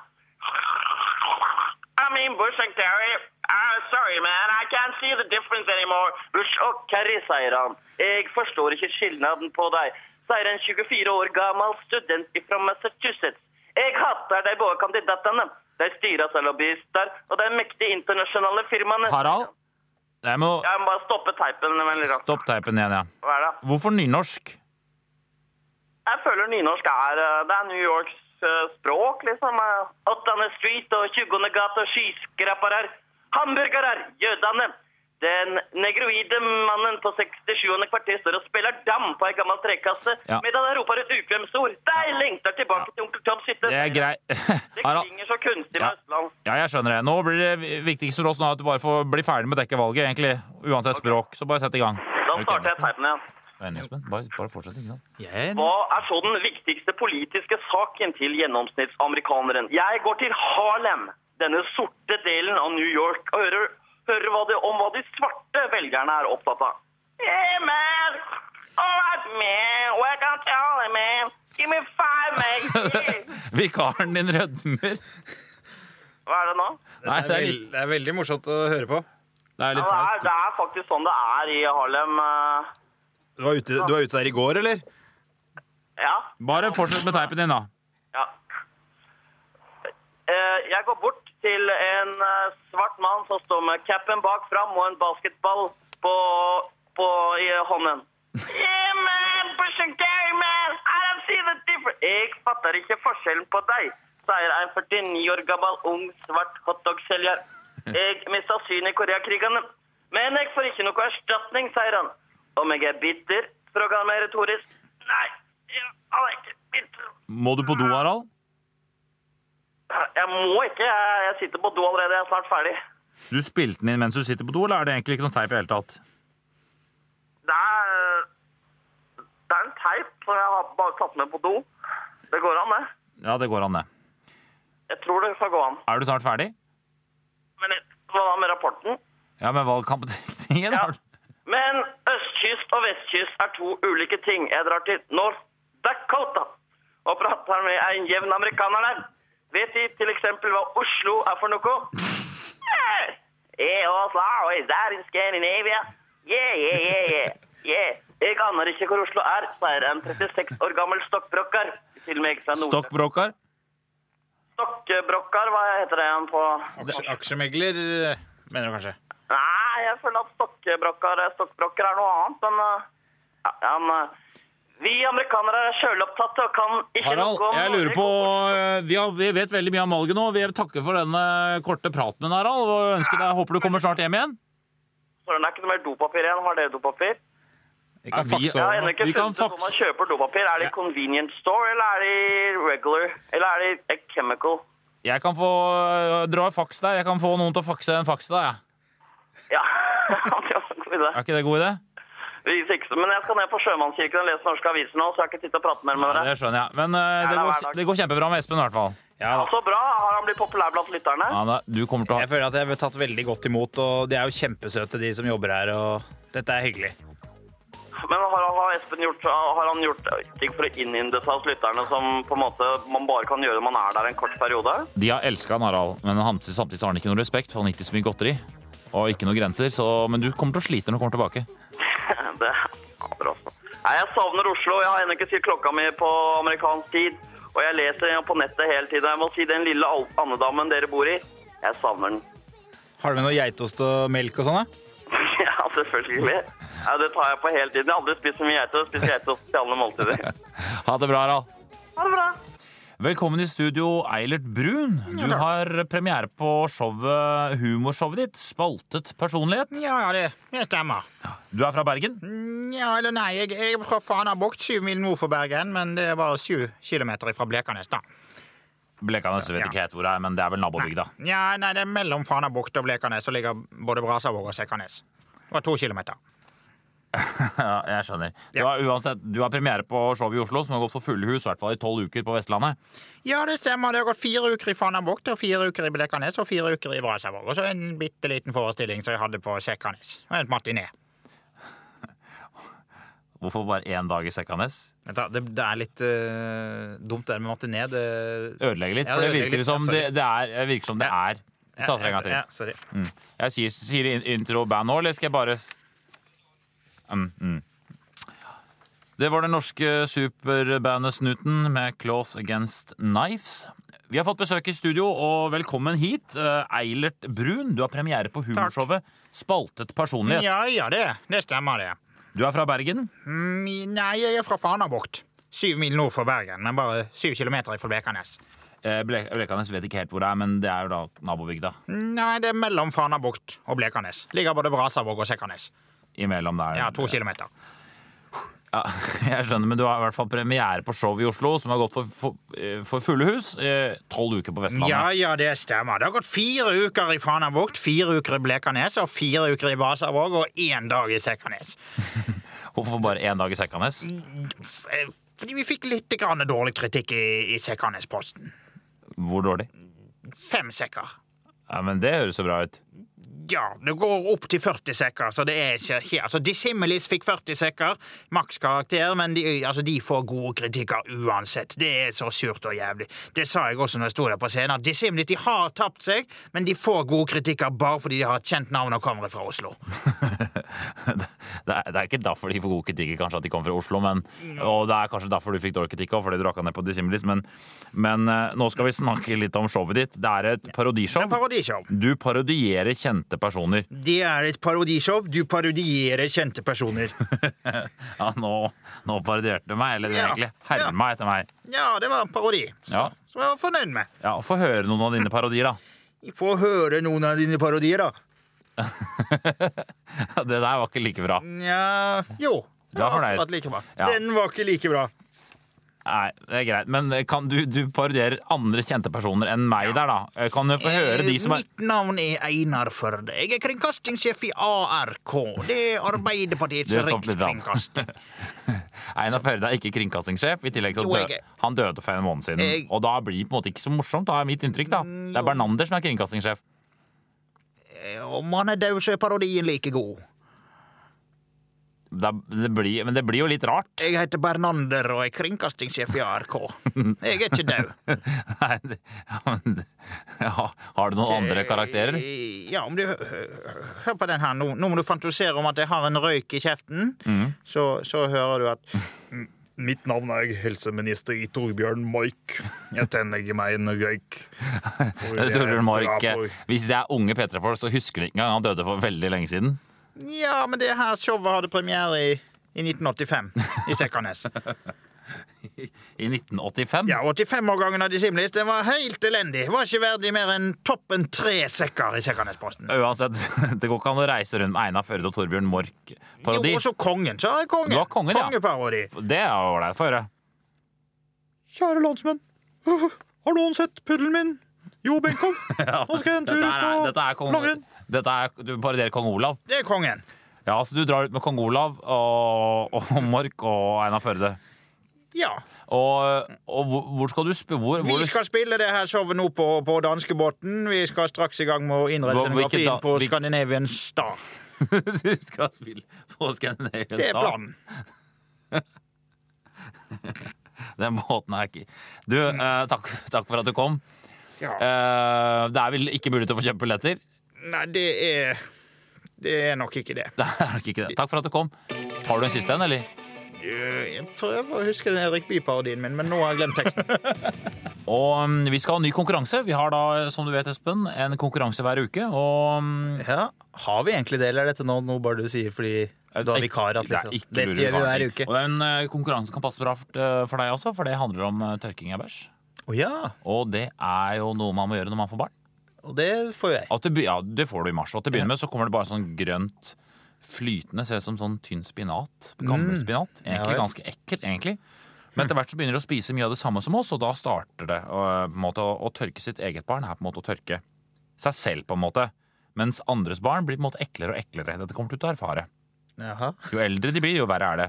Speaker 6: I mean, Bush and Kerry, I'm sorry, man, I can't see the difference anymore. Bush og Kerry, sier han. Jeg forstår ikke skillnaden på deg, sier en 24 år gammel student fra Massachusetts. Jeg hater de både kandidatene. De styres av lobbyister og de mektige internasjonale firmaene.
Speaker 3: Harald? Jeg må
Speaker 6: Jeg må bare stoppe teipen veldig raskt.
Speaker 3: stoppe teipen igjen, ja.
Speaker 6: Hva er det?
Speaker 3: Hvorfor nynorsk?
Speaker 6: Jeg føler nynorsk er eh, Det er New Yorks eh, språk, liksom. eh. 8. Street og 20. gata, skyskrapere, hamburgere, jødene. Den negroide mannen på 67. kvarter står og spiller dam på ei gammel trekasse
Speaker 3: Ja.
Speaker 6: medan han roper ut ukvemsord. De lengter tilbake til onkel Toms hytte.
Speaker 3: Det er greit.
Speaker 6: Det
Speaker 3: Harald?
Speaker 6: klinger så kunstig med
Speaker 3: Ja.
Speaker 6: østlands.
Speaker 3: Ja, jeg skjønner det. Nå blir det viktigst for oss nå at du bare får bli ferdig med å dekke valget, egentlig. Uansett språk. Så bare sett i gang.
Speaker 6: Da starter jeg teipen igjen.
Speaker 3: Enig, Espen? Bare, bare fortsett, ikke sant?
Speaker 2: Jeg
Speaker 6: Hva er så den viktigste politiske saken til gjennomsnittsamerikaneren? Jeg går til Harlem, denne sorte delen av New York, og hører, hører hva det, om hva de svarte velgerne er opptatt av. Hey, man! All right, man. What I can tell you, man? Give me five, man.
Speaker 3: Vikaren din rødmer.
Speaker 6: Hva er det nå?
Speaker 3: Nei, det er, litt,
Speaker 2: det er veldig morsomt å høre på.
Speaker 3: det er
Speaker 6: Ja,
Speaker 3: litt
Speaker 6: Det er,
Speaker 3: flaut.
Speaker 6: det er faktisk sånn det er i Harlem. eh,
Speaker 2: Du var, ute, du var ute der i går, eller?
Speaker 6: Ja.
Speaker 3: Bare fortsett med teipen din, da.
Speaker 6: Ja. Eh, Jeg går bort til en eh, svart mann som står med capen bak fram og en basketball på, på, i hånden. Yeah, man, push and carry, man. I don't see the difference. Jeg fatter ikke forskjellen på deg, sier en 49 år gammel ung svart hotdog-selger. Jeg mista synet i Koreakrigene, men jeg får ikke noe erstatning, sier han. Om jeg er bitter, spør han meg retorisk. Nei, jeg er ikke bitter.
Speaker 3: Må du på do, Harald?
Speaker 6: Jeg må ikke. Jeg, jeg sitter på do allerede. Jeg er snart ferdig.
Speaker 3: Du spilte den inn mens du sitter på do, eller er det egentlig ikke noe teip i det hele tatt?
Speaker 6: Det er, øh, det er en teip som jeg har bare tatt med på do. Det går an, det.
Speaker 3: Ja, det går an, det.
Speaker 6: Jeg tror det skal gå an.
Speaker 3: Er du snart ferdig?
Speaker 6: Men jeg- hva da med rapporten?
Speaker 3: Ja, med valgkampdekningen?
Speaker 6: Ja.
Speaker 3: har du-
Speaker 6: Men østkyst og vestkyst er to ulike ting. Jeg drar til North Dakota og prater med en jevn amerikaner der. Vet De f.eks. hva Oslo er for noe? Yeah, Yeah, Oslo is there in Scandinavia. Yeah, yeah, yeah, yeah. yeah. Jeg aner ikke hvor Oslo er, sier en 36 år gammel stokkbrokker. Til og med ikke fra Nord-
Speaker 3: Stokkbråkar?
Speaker 6: Stokkbrokker, hva heter det igjen på
Speaker 2: Aksjemegler, mener du kanskje?
Speaker 6: Nei, jeg føler at stokkbrokker, eh, stokkbrokker er noe annet, men eh, ja, men, eh, vi amerikanere er sjølopptatte og kan ikke
Speaker 3: Harald,
Speaker 6: noe om
Speaker 3: jeg lurer
Speaker 6: Norge.
Speaker 3: på eh, vi, har, vi vet veldig mye om valget nå. Vi takker for denne korte praten med deg, Harald. Og ønsker deg, håper du kommer snart hjem igjen.
Speaker 6: Så Det er ikke noe mer dopapir igjen. Har dere dopapir?
Speaker 2: Vi kan
Speaker 3: Ja, vi-
Speaker 2: fakse
Speaker 6: Jeg har
Speaker 2: over.
Speaker 6: ennå ikke
Speaker 3: Vi kan
Speaker 6: funnet ut hvor
Speaker 3: faks-
Speaker 6: man kjøper dopapir. Er det i convenience store, eller er det i regular? Eller er det i eh, chemical?
Speaker 3: Jeg kan få eh, dra faks der. Jeg kan få noen til å fakse en faks til deg. jeg.
Speaker 6: Ja, det var
Speaker 3: Er
Speaker 6: en god idé.
Speaker 3: ikke det god idé?
Speaker 6: Vi fikser- Men jeg skal ned på Sjømannskirken og lese norske aviser nå, så jeg har ikke tid til å prate mer med
Speaker 3: Ja,
Speaker 6: dere.
Speaker 3: det skjønner jeg. Men eh, det,
Speaker 6: Nei, nei, hver
Speaker 3: går,
Speaker 6: dag.
Speaker 3: det går kjempebra med Espen i hvert fall.
Speaker 2: Ja, da.
Speaker 6: Så bra. Har han blitt populær blant lytterne?
Speaker 3: Ja, da, du kommer til å
Speaker 2: Jeg føler at jeg blir tatt veldig godt imot, og de er jo kjempesøte, de som jobber her. og Dette er hyggelig.
Speaker 6: Men har, har Espen gjort, har han gjort ting for å innynde seg hos lytterne som på en måte man bare kan gjøre når man er der en kort periode?
Speaker 3: De har elska Harald, men han, samtidig så har han ikke noe respekt, for han har ikke så mye godteri. Og ikke noen grenser, så, men du kommer til å slite når du kommer tilbake.
Speaker 6: Det er bra. Nei, jeg savner Oslo. Jeg har ennå ikke sett klokka mi på amerikansk tid. Og jeg leser på nettet hele tiden. Jeg må si den lille al- andedammen dere bor i. Jeg savner den.
Speaker 2: Har du med noe geitost og melk og sånn? da?
Speaker 6: ja, selvfølgelig. Nei, det tar jeg på hele tiden. Jeg har aldri spist så mye geitost. Spiser geitost til alle måltider.
Speaker 3: Ha det bra, Harald. Ha det bra. Velkommen i studio, Eilert Brun. Du har premiere på showet, humorshowet ditt, Spaltet personlighet.
Speaker 4: Ja, ja, det, det stemmer.
Speaker 3: Du er fra Bergen.
Speaker 4: Ja eller nei, jeg, jeg er fra Fanabukt, syv mil nord for Bergen, men det er bare syv kilometer fra Blekanes, da.
Speaker 3: Blekanes vet ikke helt hvor det er, men det er vel nabobygda.
Speaker 4: Ja, nei, det er mellom Fanabukt og Blekanes, så ligger både Brasavåg og Sekanes. Det var to kilometer.
Speaker 3: Ja, jeg skjønner. Du har, uansett, du har premiere på showet i Oslo, som har gått for fulle hus, i hvert fall i tolv uker på Vestlandet.
Speaker 4: Ja, det stemmer. Det har gått fire uker i Fanabukt og fire uker i Blekanes og fire uker i Brasavåg. Og så en bitte liten forestilling som jeg hadde på Sekkanes. Og en matiné.
Speaker 3: Hvorfor bare én dag i Sekkanes?
Speaker 2: Vent da, Det, det er litt eh, dumt det der med matiné. Det
Speaker 3: ødelegge litt.
Speaker 2: Ja, det
Speaker 3: For det
Speaker 2: ødelegger
Speaker 3: virker
Speaker 2: litt.
Speaker 3: som
Speaker 2: Ja, sorry.
Speaker 3: det, det er det virker som det er. Vi tar det en gang til. Mm,
Speaker 2: Ja, sorry.
Speaker 3: Jeg sier, sier in- intro band nå, eller skal jeg bare s- mm, mm. Det var det norske superbandet Snuten med Claws Against Knives. Vi har fått besøk i studio, og velkommen hit. eh, Eilert Brun, du har premiere på humorshowet Spaltet personlighet.
Speaker 4: Ja, ja, det, det stemmer, det.
Speaker 3: Du er fra Bergen.
Speaker 4: Mm, Nei, jeg er fra Fanabukt. Syv mil nord for Bergen, men bare syv kilometer fra Blekanes.
Speaker 3: Eh, Ble- Blekanes vet ikke helt hvor det er, men det er jo da nabobygda.
Speaker 4: Nei, det er mellom Fanabukt og Blekanes. Ligger både Brasavåg og Sekkanes.
Speaker 3: Imellom der.
Speaker 4: Ja, to kilometer.
Speaker 3: Ja, jeg skjønner, men du har i hvert fall premiere på show i Oslo, som har gått for, for, eh, for fulle hus. eh, Tolv uker på Vestlandet.
Speaker 4: Ja, ja, det stemmer. Det har gått fire uker i Fanabukt, fire uker i Blekanes og fire uker i Brasavåg og én dag i Sekkanes.
Speaker 3: Hvorfor bare én dag i Sekkanes?
Speaker 4: Eh, Fordi vi fikk litt grann dårlig kritikk i, i Sekkanes-posten.
Speaker 3: Hvor dårlig?
Speaker 4: Fem sekker.
Speaker 3: Ja, men Det høres så bra ut.
Speaker 4: Ja, det går opp til 40 sekker, så det er ikke helt Altså, Dissimilis fikk 40 sekker, makskarakter, men de, altså, de får gode kritikker uansett. Det er så surt og jævlig. Det sa jeg også når jeg sto der på scenen. at Dissimilis de har tapt seg, men de får gode kritikker bare fordi de har et kjent navn og kommer fra Oslo.
Speaker 3: Det er, det er ikke derfor de får gode kritikker, kanskje, at de kommer fra Oslo. Men, og det er kanskje derfor du fikk dårlig kritikk òg, fordi du rakka ned på Dissimilis. Men, men eh, nå skal vi snakke litt om showet ditt. Det er et
Speaker 4: Det er
Speaker 3: parodishow.
Speaker 4: parodishow.
Speaker 3: Du parodierer kjente personer.
Speaker 4: Det er et parodishow. Du parodierer kjente personer.
Speaker 3: Ja, nå, nå parodierte du meg, eller det er
Speaker 4: Ja.
Speaker 3: egentlig
Speaker 4: Ja.
Speaker 3: herma etter meg.
Speaker 4: Ja, det var en parodi. Så,
Speaker 3: Ja.
Speaker 4: som jeg var fornøyd med.
Speaker 3: Ja, Få høre noen av dine parodier, da.
Speaker 4: Få høre noen av dine parodier, da.
Speaker 3: Ja, Det der var ikke like bra.
Speaker 4: Nja Jo.
Speaker 3: Du er fornøyd.
Speaker 4: akkurat like bra.
Speaker 3: Ja.
Speaker 4: Den var ikke like bra.
Speaker 3: Nei, det er greit. Men eh, kan du, du parodierer andre kjente personer enn meg der, da. Eh, Kan du få høre de som
Speaker 4: Eh,
Speaker 3: er
Speaker 4: Mitt navn er Einar Førde. Jeg er kringkastingssjef i ARK. Det er Arbeiderpartiets
Speaker 3: Det stoppet litt av.
Speaker 4: rikskringkasting.
Speaker 3: Einar Førde er ikke kringkastingssjef. I tillegg så
Speaker 4: Jo,
Speaker 3: dø,
Speaker 4: jeg er.
Speaker 3: han døde for en måned siden.
Speaker 4: Jeg-
Speaker 3: Og da blir det på en måte ikke så morsomt, da er mitt inntrykk. da. Det er Bernander som er kringkastingssjef.
Speaker 4: Eh, Om han er død, så er parodien like god.
Speaker 3: da, det blir, men det blir jo litt rart.
Speaker 4: Jeg heter Bernander og er kringkastingssjef i ARK. Jeg er ikke død.
Speaker 3: Nei, det, ja, men, det- ja, har du noen andre karakterer?
Speaker 4: Ja, om du hø- hø- Hør på den her nå. Nå må du fantasere om at jeg har en røyk i kjeften.
Speaker 3: Mm.
Speaker 4: Så, så hører du at
Speaker 7: Mitt navn er helseminister Torbjørn Mork. Jeg tenner meg en røyk. For jeg er
Speaker 3: Torbjørn Mork,
Speaker 7: glad for-
Speaker 3: hvis det er unge P3-folk, så husker de ikke engang. Han døde for veldig lenge siden.
Speaker 4: Ja, men det her showet hadde premiere i, i 1985 i Sekkernes.
Speaker 3: I 1985.
Speaker 4: Ja, 85-årgangen av Dissimlis den var helt elendig. Var ikke verdig mer enn toppen tre sekker i Sekkernesposten.
Speaker 3: Uansett, det går ikke an å reise rundt med Einar Førde og Torbjørn
Speaker 4: Jo,
Speaker 3: Mork-parodi.
Speaker 4: og så Kongen. Så har jeg kongen.
Speaker 3: Du har kongen, ja.
Speaker 4: Kongeparodi.
Speaker 3: Det er jo ålreit for å høre.
Speaker 4: Kjære landsmenn. Har noen sett puddelen min? Jo, Benkow. Nå skal jeg en tur
Speaker 3: Dette er,
Speaker 4: ut
Speaker 3: dette er
Speaker 4: på
Speaker 3: kong,
Speaker 4: langrenn.
Speaker 3: dette er, du parodierer kong Olav.
Speaker 4: Det er kongen.
Speaker 3: Ja, så du drar ut med kong Olav og, og Mork og Einar Førde.
Speaker 4: Ja.
Speaker 3: Og, og hvor, hvor skal du sp hvor, hvor,
Speaker 4: Vi skal spille det her showet nå på, på danskebåten. Vi skal straks i gang med å innrette
Speaker 3: Hva- hvilket da-
Speaker 4: scenografien på
Speaker 3: hvil-
Speaker 4: Scandinavian Star.
Speaker 3: du skal spille på Scandinavian
Speaker 4: Det er
Speaker 3: Star.
Speaker 4: planen.
Speaker 3: Den båten er ikke Du, eh, takk, takk for at du kom.
Speaker 4: Ja.
Speaker 3: Eh, det er vel ikke mulig til å få kjøpt billetter?
Speaker 4: Nei, det er Det er nok ikke det.
Speaker 3: Det er nok ikke det. Takk for at du kom. Har du en siste en, eller?
Speaker 4: Jeg prøver å huske den Erik Bye-parodien min, men nå har jeg glemt teksten.
Speaker 3: Og mm, vi skal ha en ny konkurranse. Vi har da, som du vet, Espen, en konkurranse hver uke. Og mm,
Speaker 2: Ja, Har vi egentlig det, eller er dette nå noe bare du sier fordi du har vikaratt?
Speaker 3: Det er
Speaker 2: Liksom.
Speaker 3: ikke
Speaker 2: Dette
Speaker 3: mulig
Speaker 2: gjør vi hver
Speaker 3: å
Speaker 2: uke.
Speaker 3: Og den eh, konkurransen kan passe bra for eh, for deg også, for det handler om eh, tørking av bæsj.
Speaker 2: Å ja,
Speaker 3: Og det er jo noe man må gjøre når man får barn.
Speaker 2: og det får jo jeg.
Speaker 3: At det, be- ja, det får du i mars. Og til å begynne med så kommer det bare sånn grønt flytende, ser ut som sånn tynn spinat. Gammel spinat. Egentlig
Speaker 2: vel.
Speaker 3: ganske ekkel, egentlig. Men etter hvert så begynner de å spise mye av det samme som oss, og da starter det. Og, eh, på en måte, å, å tørke sitt eget barn er på en måte å tørke seg selv, på en måte. Mens andres barn blir på en måte eklere og eklere. Dette kommer du til å erfare.
Speaker 2: Jaha.
Speaker 3: Jo eldre de blir, jo verre er det.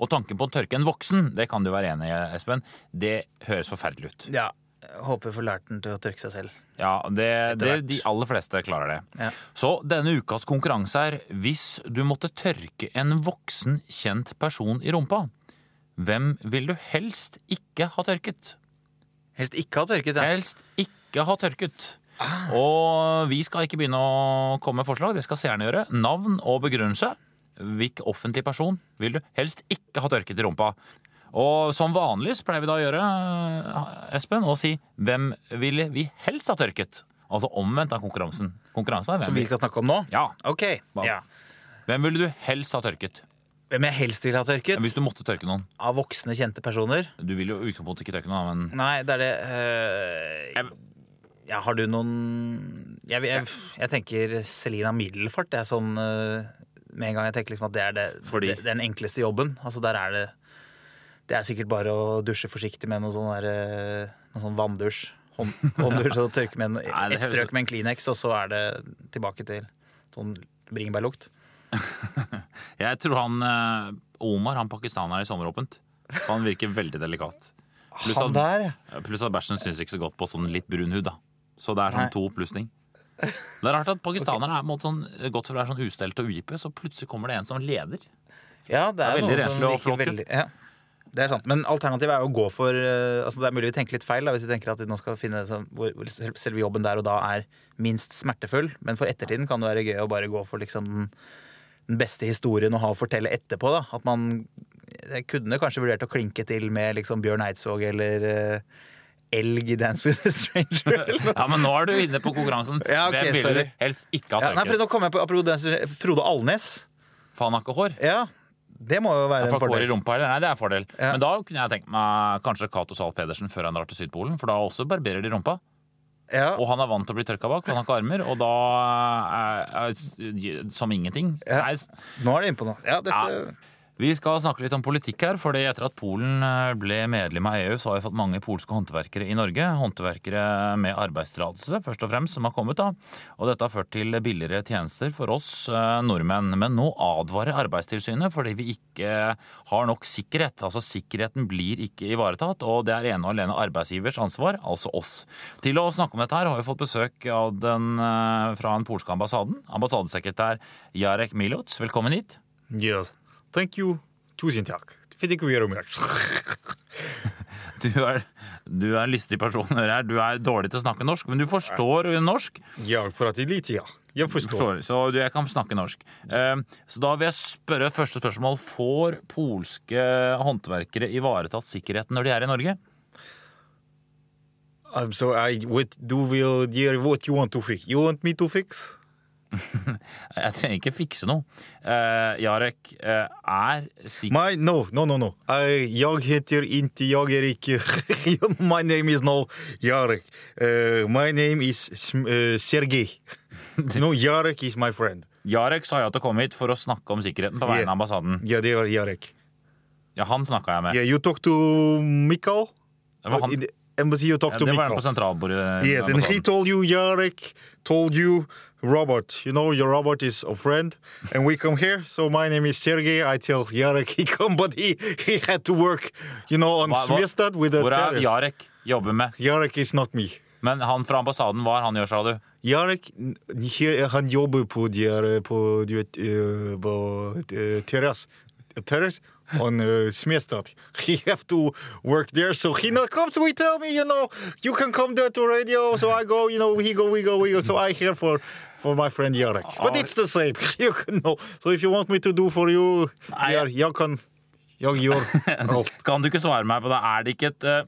Speaker 3: Og tanken på å tørke en voksen, det kan du være enig i, Espen, det høres forferdelig ut.
Speaker 2: Ja, jeg Håper jeg får lært den til å tørke seg selv.
Speaker 3: Ja, det, det, de aller fleste klarer det. Så denne ukas konkurranse er hvis du måtte tørke en voksen, kjent person i rumpa, hvem vil du helst ikke ha tørket?
Speaker 2: Helst ikke ha tørket. Ja.
Speaker 3: Helst ikke ha tørket. Og vi skal ikke begynne å komme med forslag, det skal seerne gjøre. Navn og begrunnelse. Hvilken offentlig person vil du helst ikke ha tørket i rumpa? Og som vanlig så pleier vi da å gjøre, eh, Espen, å si hvem ville vi helst ha tørket? Altså omvendt av konkurransen. Konkurransen er hvem
Speaker 2: Som vi
Speaker 3: vi
Speaker 2: skal snakke om nå?
Speaker 3: Ja.
Speaker 2: Ok.
Speaker 3: Hva?
Speaker 2: Ja.
Speaker 3: Hvem ville du helst ha tørket?
Speaker 2: Hvem jeg helst vil ha tørket?
Speaker 3: Hvis du måtte tørke noen.
Speaker 2: Av voksne, kjente personer?
Speaker 3: Du vil jo i utgangspunktet ikke tørke noen, men
Speaker 2: Nei, det er det øh, ja, Har du noen jeg, jeg, jeg tenker Selina Middelfart. Det er sånn øh, Med en gang jeg tenker liksom at det er det,
Speaker 3: Fordi?
Speaker 2: det, den enkleste jobben. Altså der er det Det er sikkert bare å dusje forsiktig med noe sånn der øh, Noe sånn vanndusj. Hånd, hånddusj og tørke med en,
Speaker 3: Nei, det
Speaker 2: et
Speaker 3: høres ut-
Speaker 2: strøk med en Kleenex, og så er det tilbake til sånn bringebærlukt.
Speaker 3: Jeg tror han eh, Omar, han pakistaneren i sommeråpent, han virker veldig delikat. Pluss at-
Speaker 2: der,
Speaker 3: Pluss at bæsjen syns ikke så godt på sånn litt brun hud, da. Så det er sånn to plussning. Det er rart at pakistanerne er på en måte sånn godt for å være sånn ustelt og ugipe, så plutselig kommer det en som leder.
Speaker 2: Ja, det er,
Speaker 3: Det er veldig
Speaker 2: noe som
Speaker 3: renslig og
Speaker 2: virker
Speaker 3: flott, ja.
Speaker 2: veldig- ja. Det er sant, Men alternativet er jo å gå for eh, altså Det er mulig vi tenker litt feil da, hvis vi tenker at vi nå skal finne det som- hvor hvor sel- selve jobben der og da er minst smertefull. Men for ettertiden kan det være gøy å bare gå for liksom den, den beste historien å ha å fortelle etterpå. da At man Jeg kunne kanskje vurdert å klinke til med liksom Bjørn Eidsvåg eller eh, Elg i Dance with a Stranger. Eller noe.
Speaker 3: Ja, men nå er du inne på konkurransen.
Speaker 2: Ja, ok,
Speaker 3: Hvem ville
Speaker 2: sorry.
Speaker 3: du helst ikke ha
Speaker 2: Ja, nei, for
Speaker 3: tørket?
Speaker 2: nå kom jeg på apropos Dance with a Stranger, Frode Alnes.
Speaker 3: For han har ikke hår.
Speaker 2: Ja, det må jo være en
Speaker 3: Får hår i
Speaker 2: fordel.
Speaker 3: rumpa, eller? Nei, det er en fordel.
Speaker 2: Ja.
Speaker 3: Men da kunne jeg tenkt meg kanskje Cato Zahl Pedersen før han drar til Sydpolen, for da også barberer de rumpa.
Speaker 2: Ja.
Speaker 3: Og han er vant til å bli tørka bak, for han har ikke armer, og da er, er, som ingenting.
Speaker 2: Ja.
Speaker 3: Nei,
Speaker 2: Nå er du inne på noe. Ja, dette...
Speaker 3: Ja. Vi skal snakke litt om politikk her, fordi etter at Polen eh, ble medlem av EU, så har vi fått mange polske håndverkere i Norge. Håndverkere med arbeidstillatelse, først og fremst, som har kommet. da. Og dette har ført til billigere tjenester for oss eh, nordmenn. Men nå advarer Arbeidstilsynet fordi vi ikke har nok sikkerhet. Altså sikkerheten blir ikke ivaretatt, og det er ene og alene arbeidsgivers ansvar, altså oss. Til å snakke om dette her har vi fått besøk av den, eh, fra den polske ambassaden. Ambassadesekretær Jarek Milots, velkommen hit.
Speaker 2: Yes.
Speaker 4: Thank you. Tusen takk. Fikk ikke gjøre mer.
Speaker 3: Du er, du er en lystig person. hører jeg. Du er dårlig til å snakke norsk, men du forstår norsk.
Speaker 4: Jeg prater litt, ja. Jeg forstår.
Speaker 3: Forstår, så du, jeg kan snakke norsk. Eh, Så da vil jeg spørre første spørsmål. Får polske håndverkere ivaretatt sikkerheten når de er i Norge?
Speaker 4: I'm so I what do will dear what you want to fix? You want me to fix?
Speaker 3: Jeg trenger ikke fikse noe. Eh, Jarek, eh, er sikkerhet
Speaker 4: My no no no no. I jag heter inte jag är inte. my name is no Jarek. Uh, my name is Sm- uh, Sergej. no Jarek is my friend.
Speaker 3: Jarek sa ja til å komme hit for å snakke om sikkerheten på vegne av
Speaker 4: Yeah.
Speaker 3: ambassaden.
Speaker 4: Yeah, they are Jarek.
Speaker 3: Ja, han snakka jeg med.
Speaker 4: Yeah, you talk to Mikko.
Speaker 3: Det var han,
Speaker 4: In the embassy you talk
Speaker 3: ja,
Speaker 4: to
Speaker 3: Eh, det var Eh, han
Speaker 4: Mikko.
Speaker 3: på sentralbordet. i
Speaker 4: Yes, and he
Speaker 3: ambassaden.
Speaker 4: told you, Jarek told you, Robert. You know, your Robert is a friend, and we come here. So my name is Sergey. I tell Jarek he come, but he, he had to work, you know, on
Speaker 3: Hva- hva-
Speaker 4: Smestad with the
Speaker 3: Hvor er
Speaker 4: terrorists.
Speaker 3: Jarek jobber med?
Speaker 4: Jarek is not me.
Speaker 3: Men han fra ambassaden, hva er han gjør, sa du?
Speaker 4: Jarek, n- he, eh, han jobber på, der, på, du vet, eh, på eh, terrass. Terrace on uh, Smestad. He have to work there, so he not comes. We tell me, you know, you can come there to radio. So I go, you know, he go, we go, we go. So I here for for my friend Jarek. But it's the same. You can know. So if you want me to do for you,
Speaker 3: Nei,
Speaker 4: Jar- jeg kan, jeg gjør alt.
Speaker 3: Kan du ikke svare meg på det? Er det ikke et eh,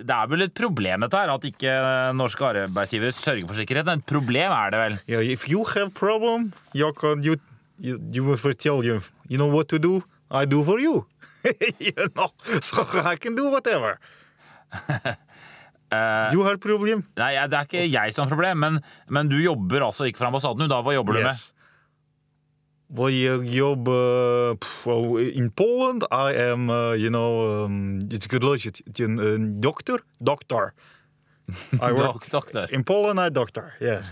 Speaker 3: det er vel et problem dette her, at ikke eh, norske arbeidsgivere sørger for sikkerheten. Et problem er det vel?
Speaker 4: Yeah, if you have problem, you can you you, you will tell you. You know what to do. I do for you. you know, so I can do whatever. you have problem?
Speaker 3: Nei, jeg- det er ikke jeg som har problem, men, men du jobber altså ikke for ambassaden. du, Da, hva jobber
Speaker 4: Yes. Well, you job uh, pff, well, in Poland. I am, uh, you know, um, it's good luck. Doctor, doctor. I
Speaker 3: du med?
Speaker 4: work
Speaker 3: Dok doktor.
Speaker 4: in Poland. I doctor. Yes.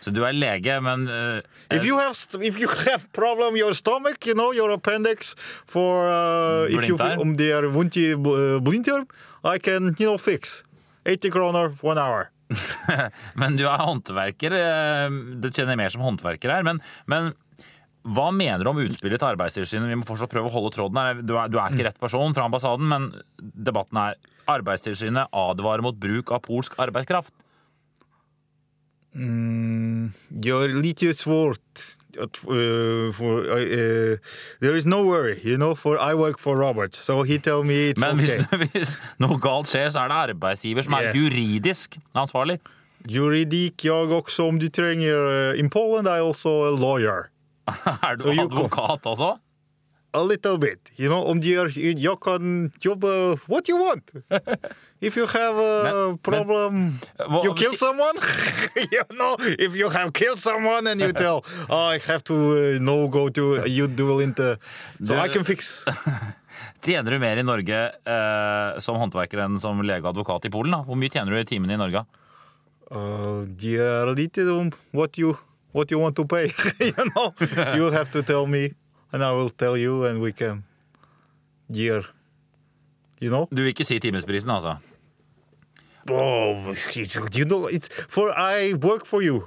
Speaker 3: Så du er lege, men eh,
Speaker 4: If you have st- if you have problem your stomach, you know your appendix for uh, if you
Speaker 3: Blinddarm?
Speaker 4: um, they are wunty uh, blinddarm, I can you know fix 80 kroner for one hour.
Speaker 3: Men du er håndverker. eh, Du tjener mer som håndverker her. Men, men hva mener du om utspillet til Arbeidstilsynet? Vi må fortsatt prøve å holde tråden her. Du er, du er ikke rett person fra ambassaden, men debatten er Arbeidstilsynet advarer mot bruk av polsk arbeidskraft.
Speaker 4: Your little word at, uh, for uh, uh, there is no worry, you know. For I work for Robert, so he tell me it's
Speaker 3: Men
Speaker 4: okay.
Speaker 3: hvis, hvis noe galt skjer, så er det arbeidsgiver som er
Speaker 4: Yes.
Speaker 3: juridisk ansvarlig.
Speaker 4: Juridik, jag också om du tränger. Uh, in Poland, I also a lawyer.
Speaker 3: Er du
Speaker 4: Så Joko.
Speaker 3: advokat også?
Speaker 4: a little bit. You know, om de er, you can job uh, what you want. If you have a
Speaker 3: Men-
Speaker 4: problem,
Speaker 3: Hva-
Speaker 4: you kill someone. you know, if you have killed someone and you tell, oh, I have to uh, no go to you do it. Uh, so I can fix.
Speaker 3: Tjener du mer i Norge eh, som håndverker enn som lege og advokat i Polen? da? Hvor mye tjener du i timen i Norge?
Speaker 4: Uh, de er little um, what you what you want to pay. you know, you have to tell me, and I will tell you, and we can. Dear, you know.
Speaker 3: Du vil ikke si timesprisen, altså?
Speaker 4: Oh, it's- you know, it's for I work for you.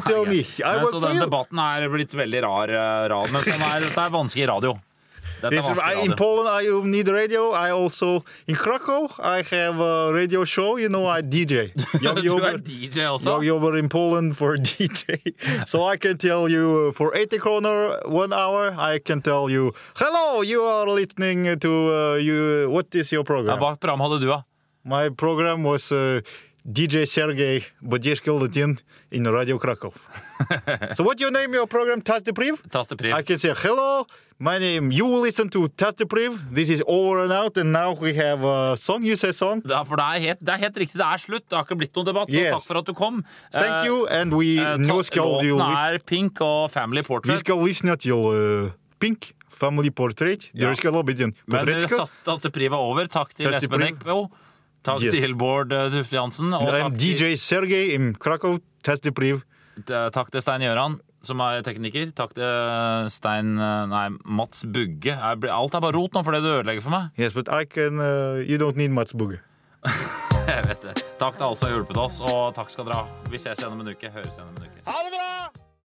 Speaker 4: tell me, I
Speaker 3: Men,
Speaker 4: work
Speaker 3: så
Speaker 4: for
Speaker 3: den
Speaker 4: you.
Speaker 3: debatten er blitt veldig rar, eh, rar men sånn er, dette er vanskelig radio. Dette er
Speaker 4: This, I,
Speaker 3: vanskelig
Speaker 4: in
Speaker 3: radio.
Speaker 4: Poland, I need radio. I also in Krakow, I have a radio show. You know, I DJ. Jag
Speaker 3: Du er
Speaker 4: jobbar-
Speaker 3: DJ også?
Speaker 4: jag jobbar in Poland for DJ, so I can tell you uh, for 80 kroner one hour. I can tell you, hello, you are listening to uh, you. What is your
Speaker 3: Ja,
Speaker 4: program?
Speaker 3: hva program hadde du, da?
Speaker 4: My program was uh, DJ Sergey Bodeshkin Latin in Radio Krakow. so what you name your program, Touch the Priv?
Speaker 3: Tastepriv.
Speaker 4: I can say hello. My name. You will listen to Touch the Priv. This is over and out, and now we have a song. You say song.
Speaker 3: Ja, for det er, helt, det er helt riktig, det er slutt. Det har ikke blitt noen debatt. så
Speaker 4: Yes.
Speaker 3: Takk for at du kom.
Speaker 4: Thank you, and we
Speaker 3: Eh,
Speaker 4: now
Speaker 3: ta-
Speaker 4: skal you.
Speaker 3: Låten er Pink og Family
Speaker 4: Vi
Speaker 3: Portrait.
Speaker 4: skal lyssna till uh, Pink Family Portrait. Det ska vara en
Speaker 3: Men
Speaker 4: porträttska.
Speaker 3: Tastepriv er over. Takk til
Speaker 4: Takk til
Speaker 3: Espen
Speaker 4: Priv.
Speaker 3: Eckbo. Takk
Speaker 4: Yes.
Speaker 3: til Bård eh, Tufte Jansen. Og
Speaker 4: I'm
Speaker 3: takk til,
Speaker 4: DJ Sergey in Krakow. Touch the Priv.
Speaker 3: eh, takk til Stein Gjøran, som er tekniker. Takk til eh, Stein eh, Nei, Mats Bugge. Jeg blir- Alt er bare rot nå, for det du ødelegger for meg.
Speaker 4: Yes, but I can. Uh, you don't need Mats Bugge.
Speaker 3: Jeg vet det. Takk til alle som har hjulpet oss, og takk skal dere ha. Vi ses igjen om en uke. Høres igjen om en uke.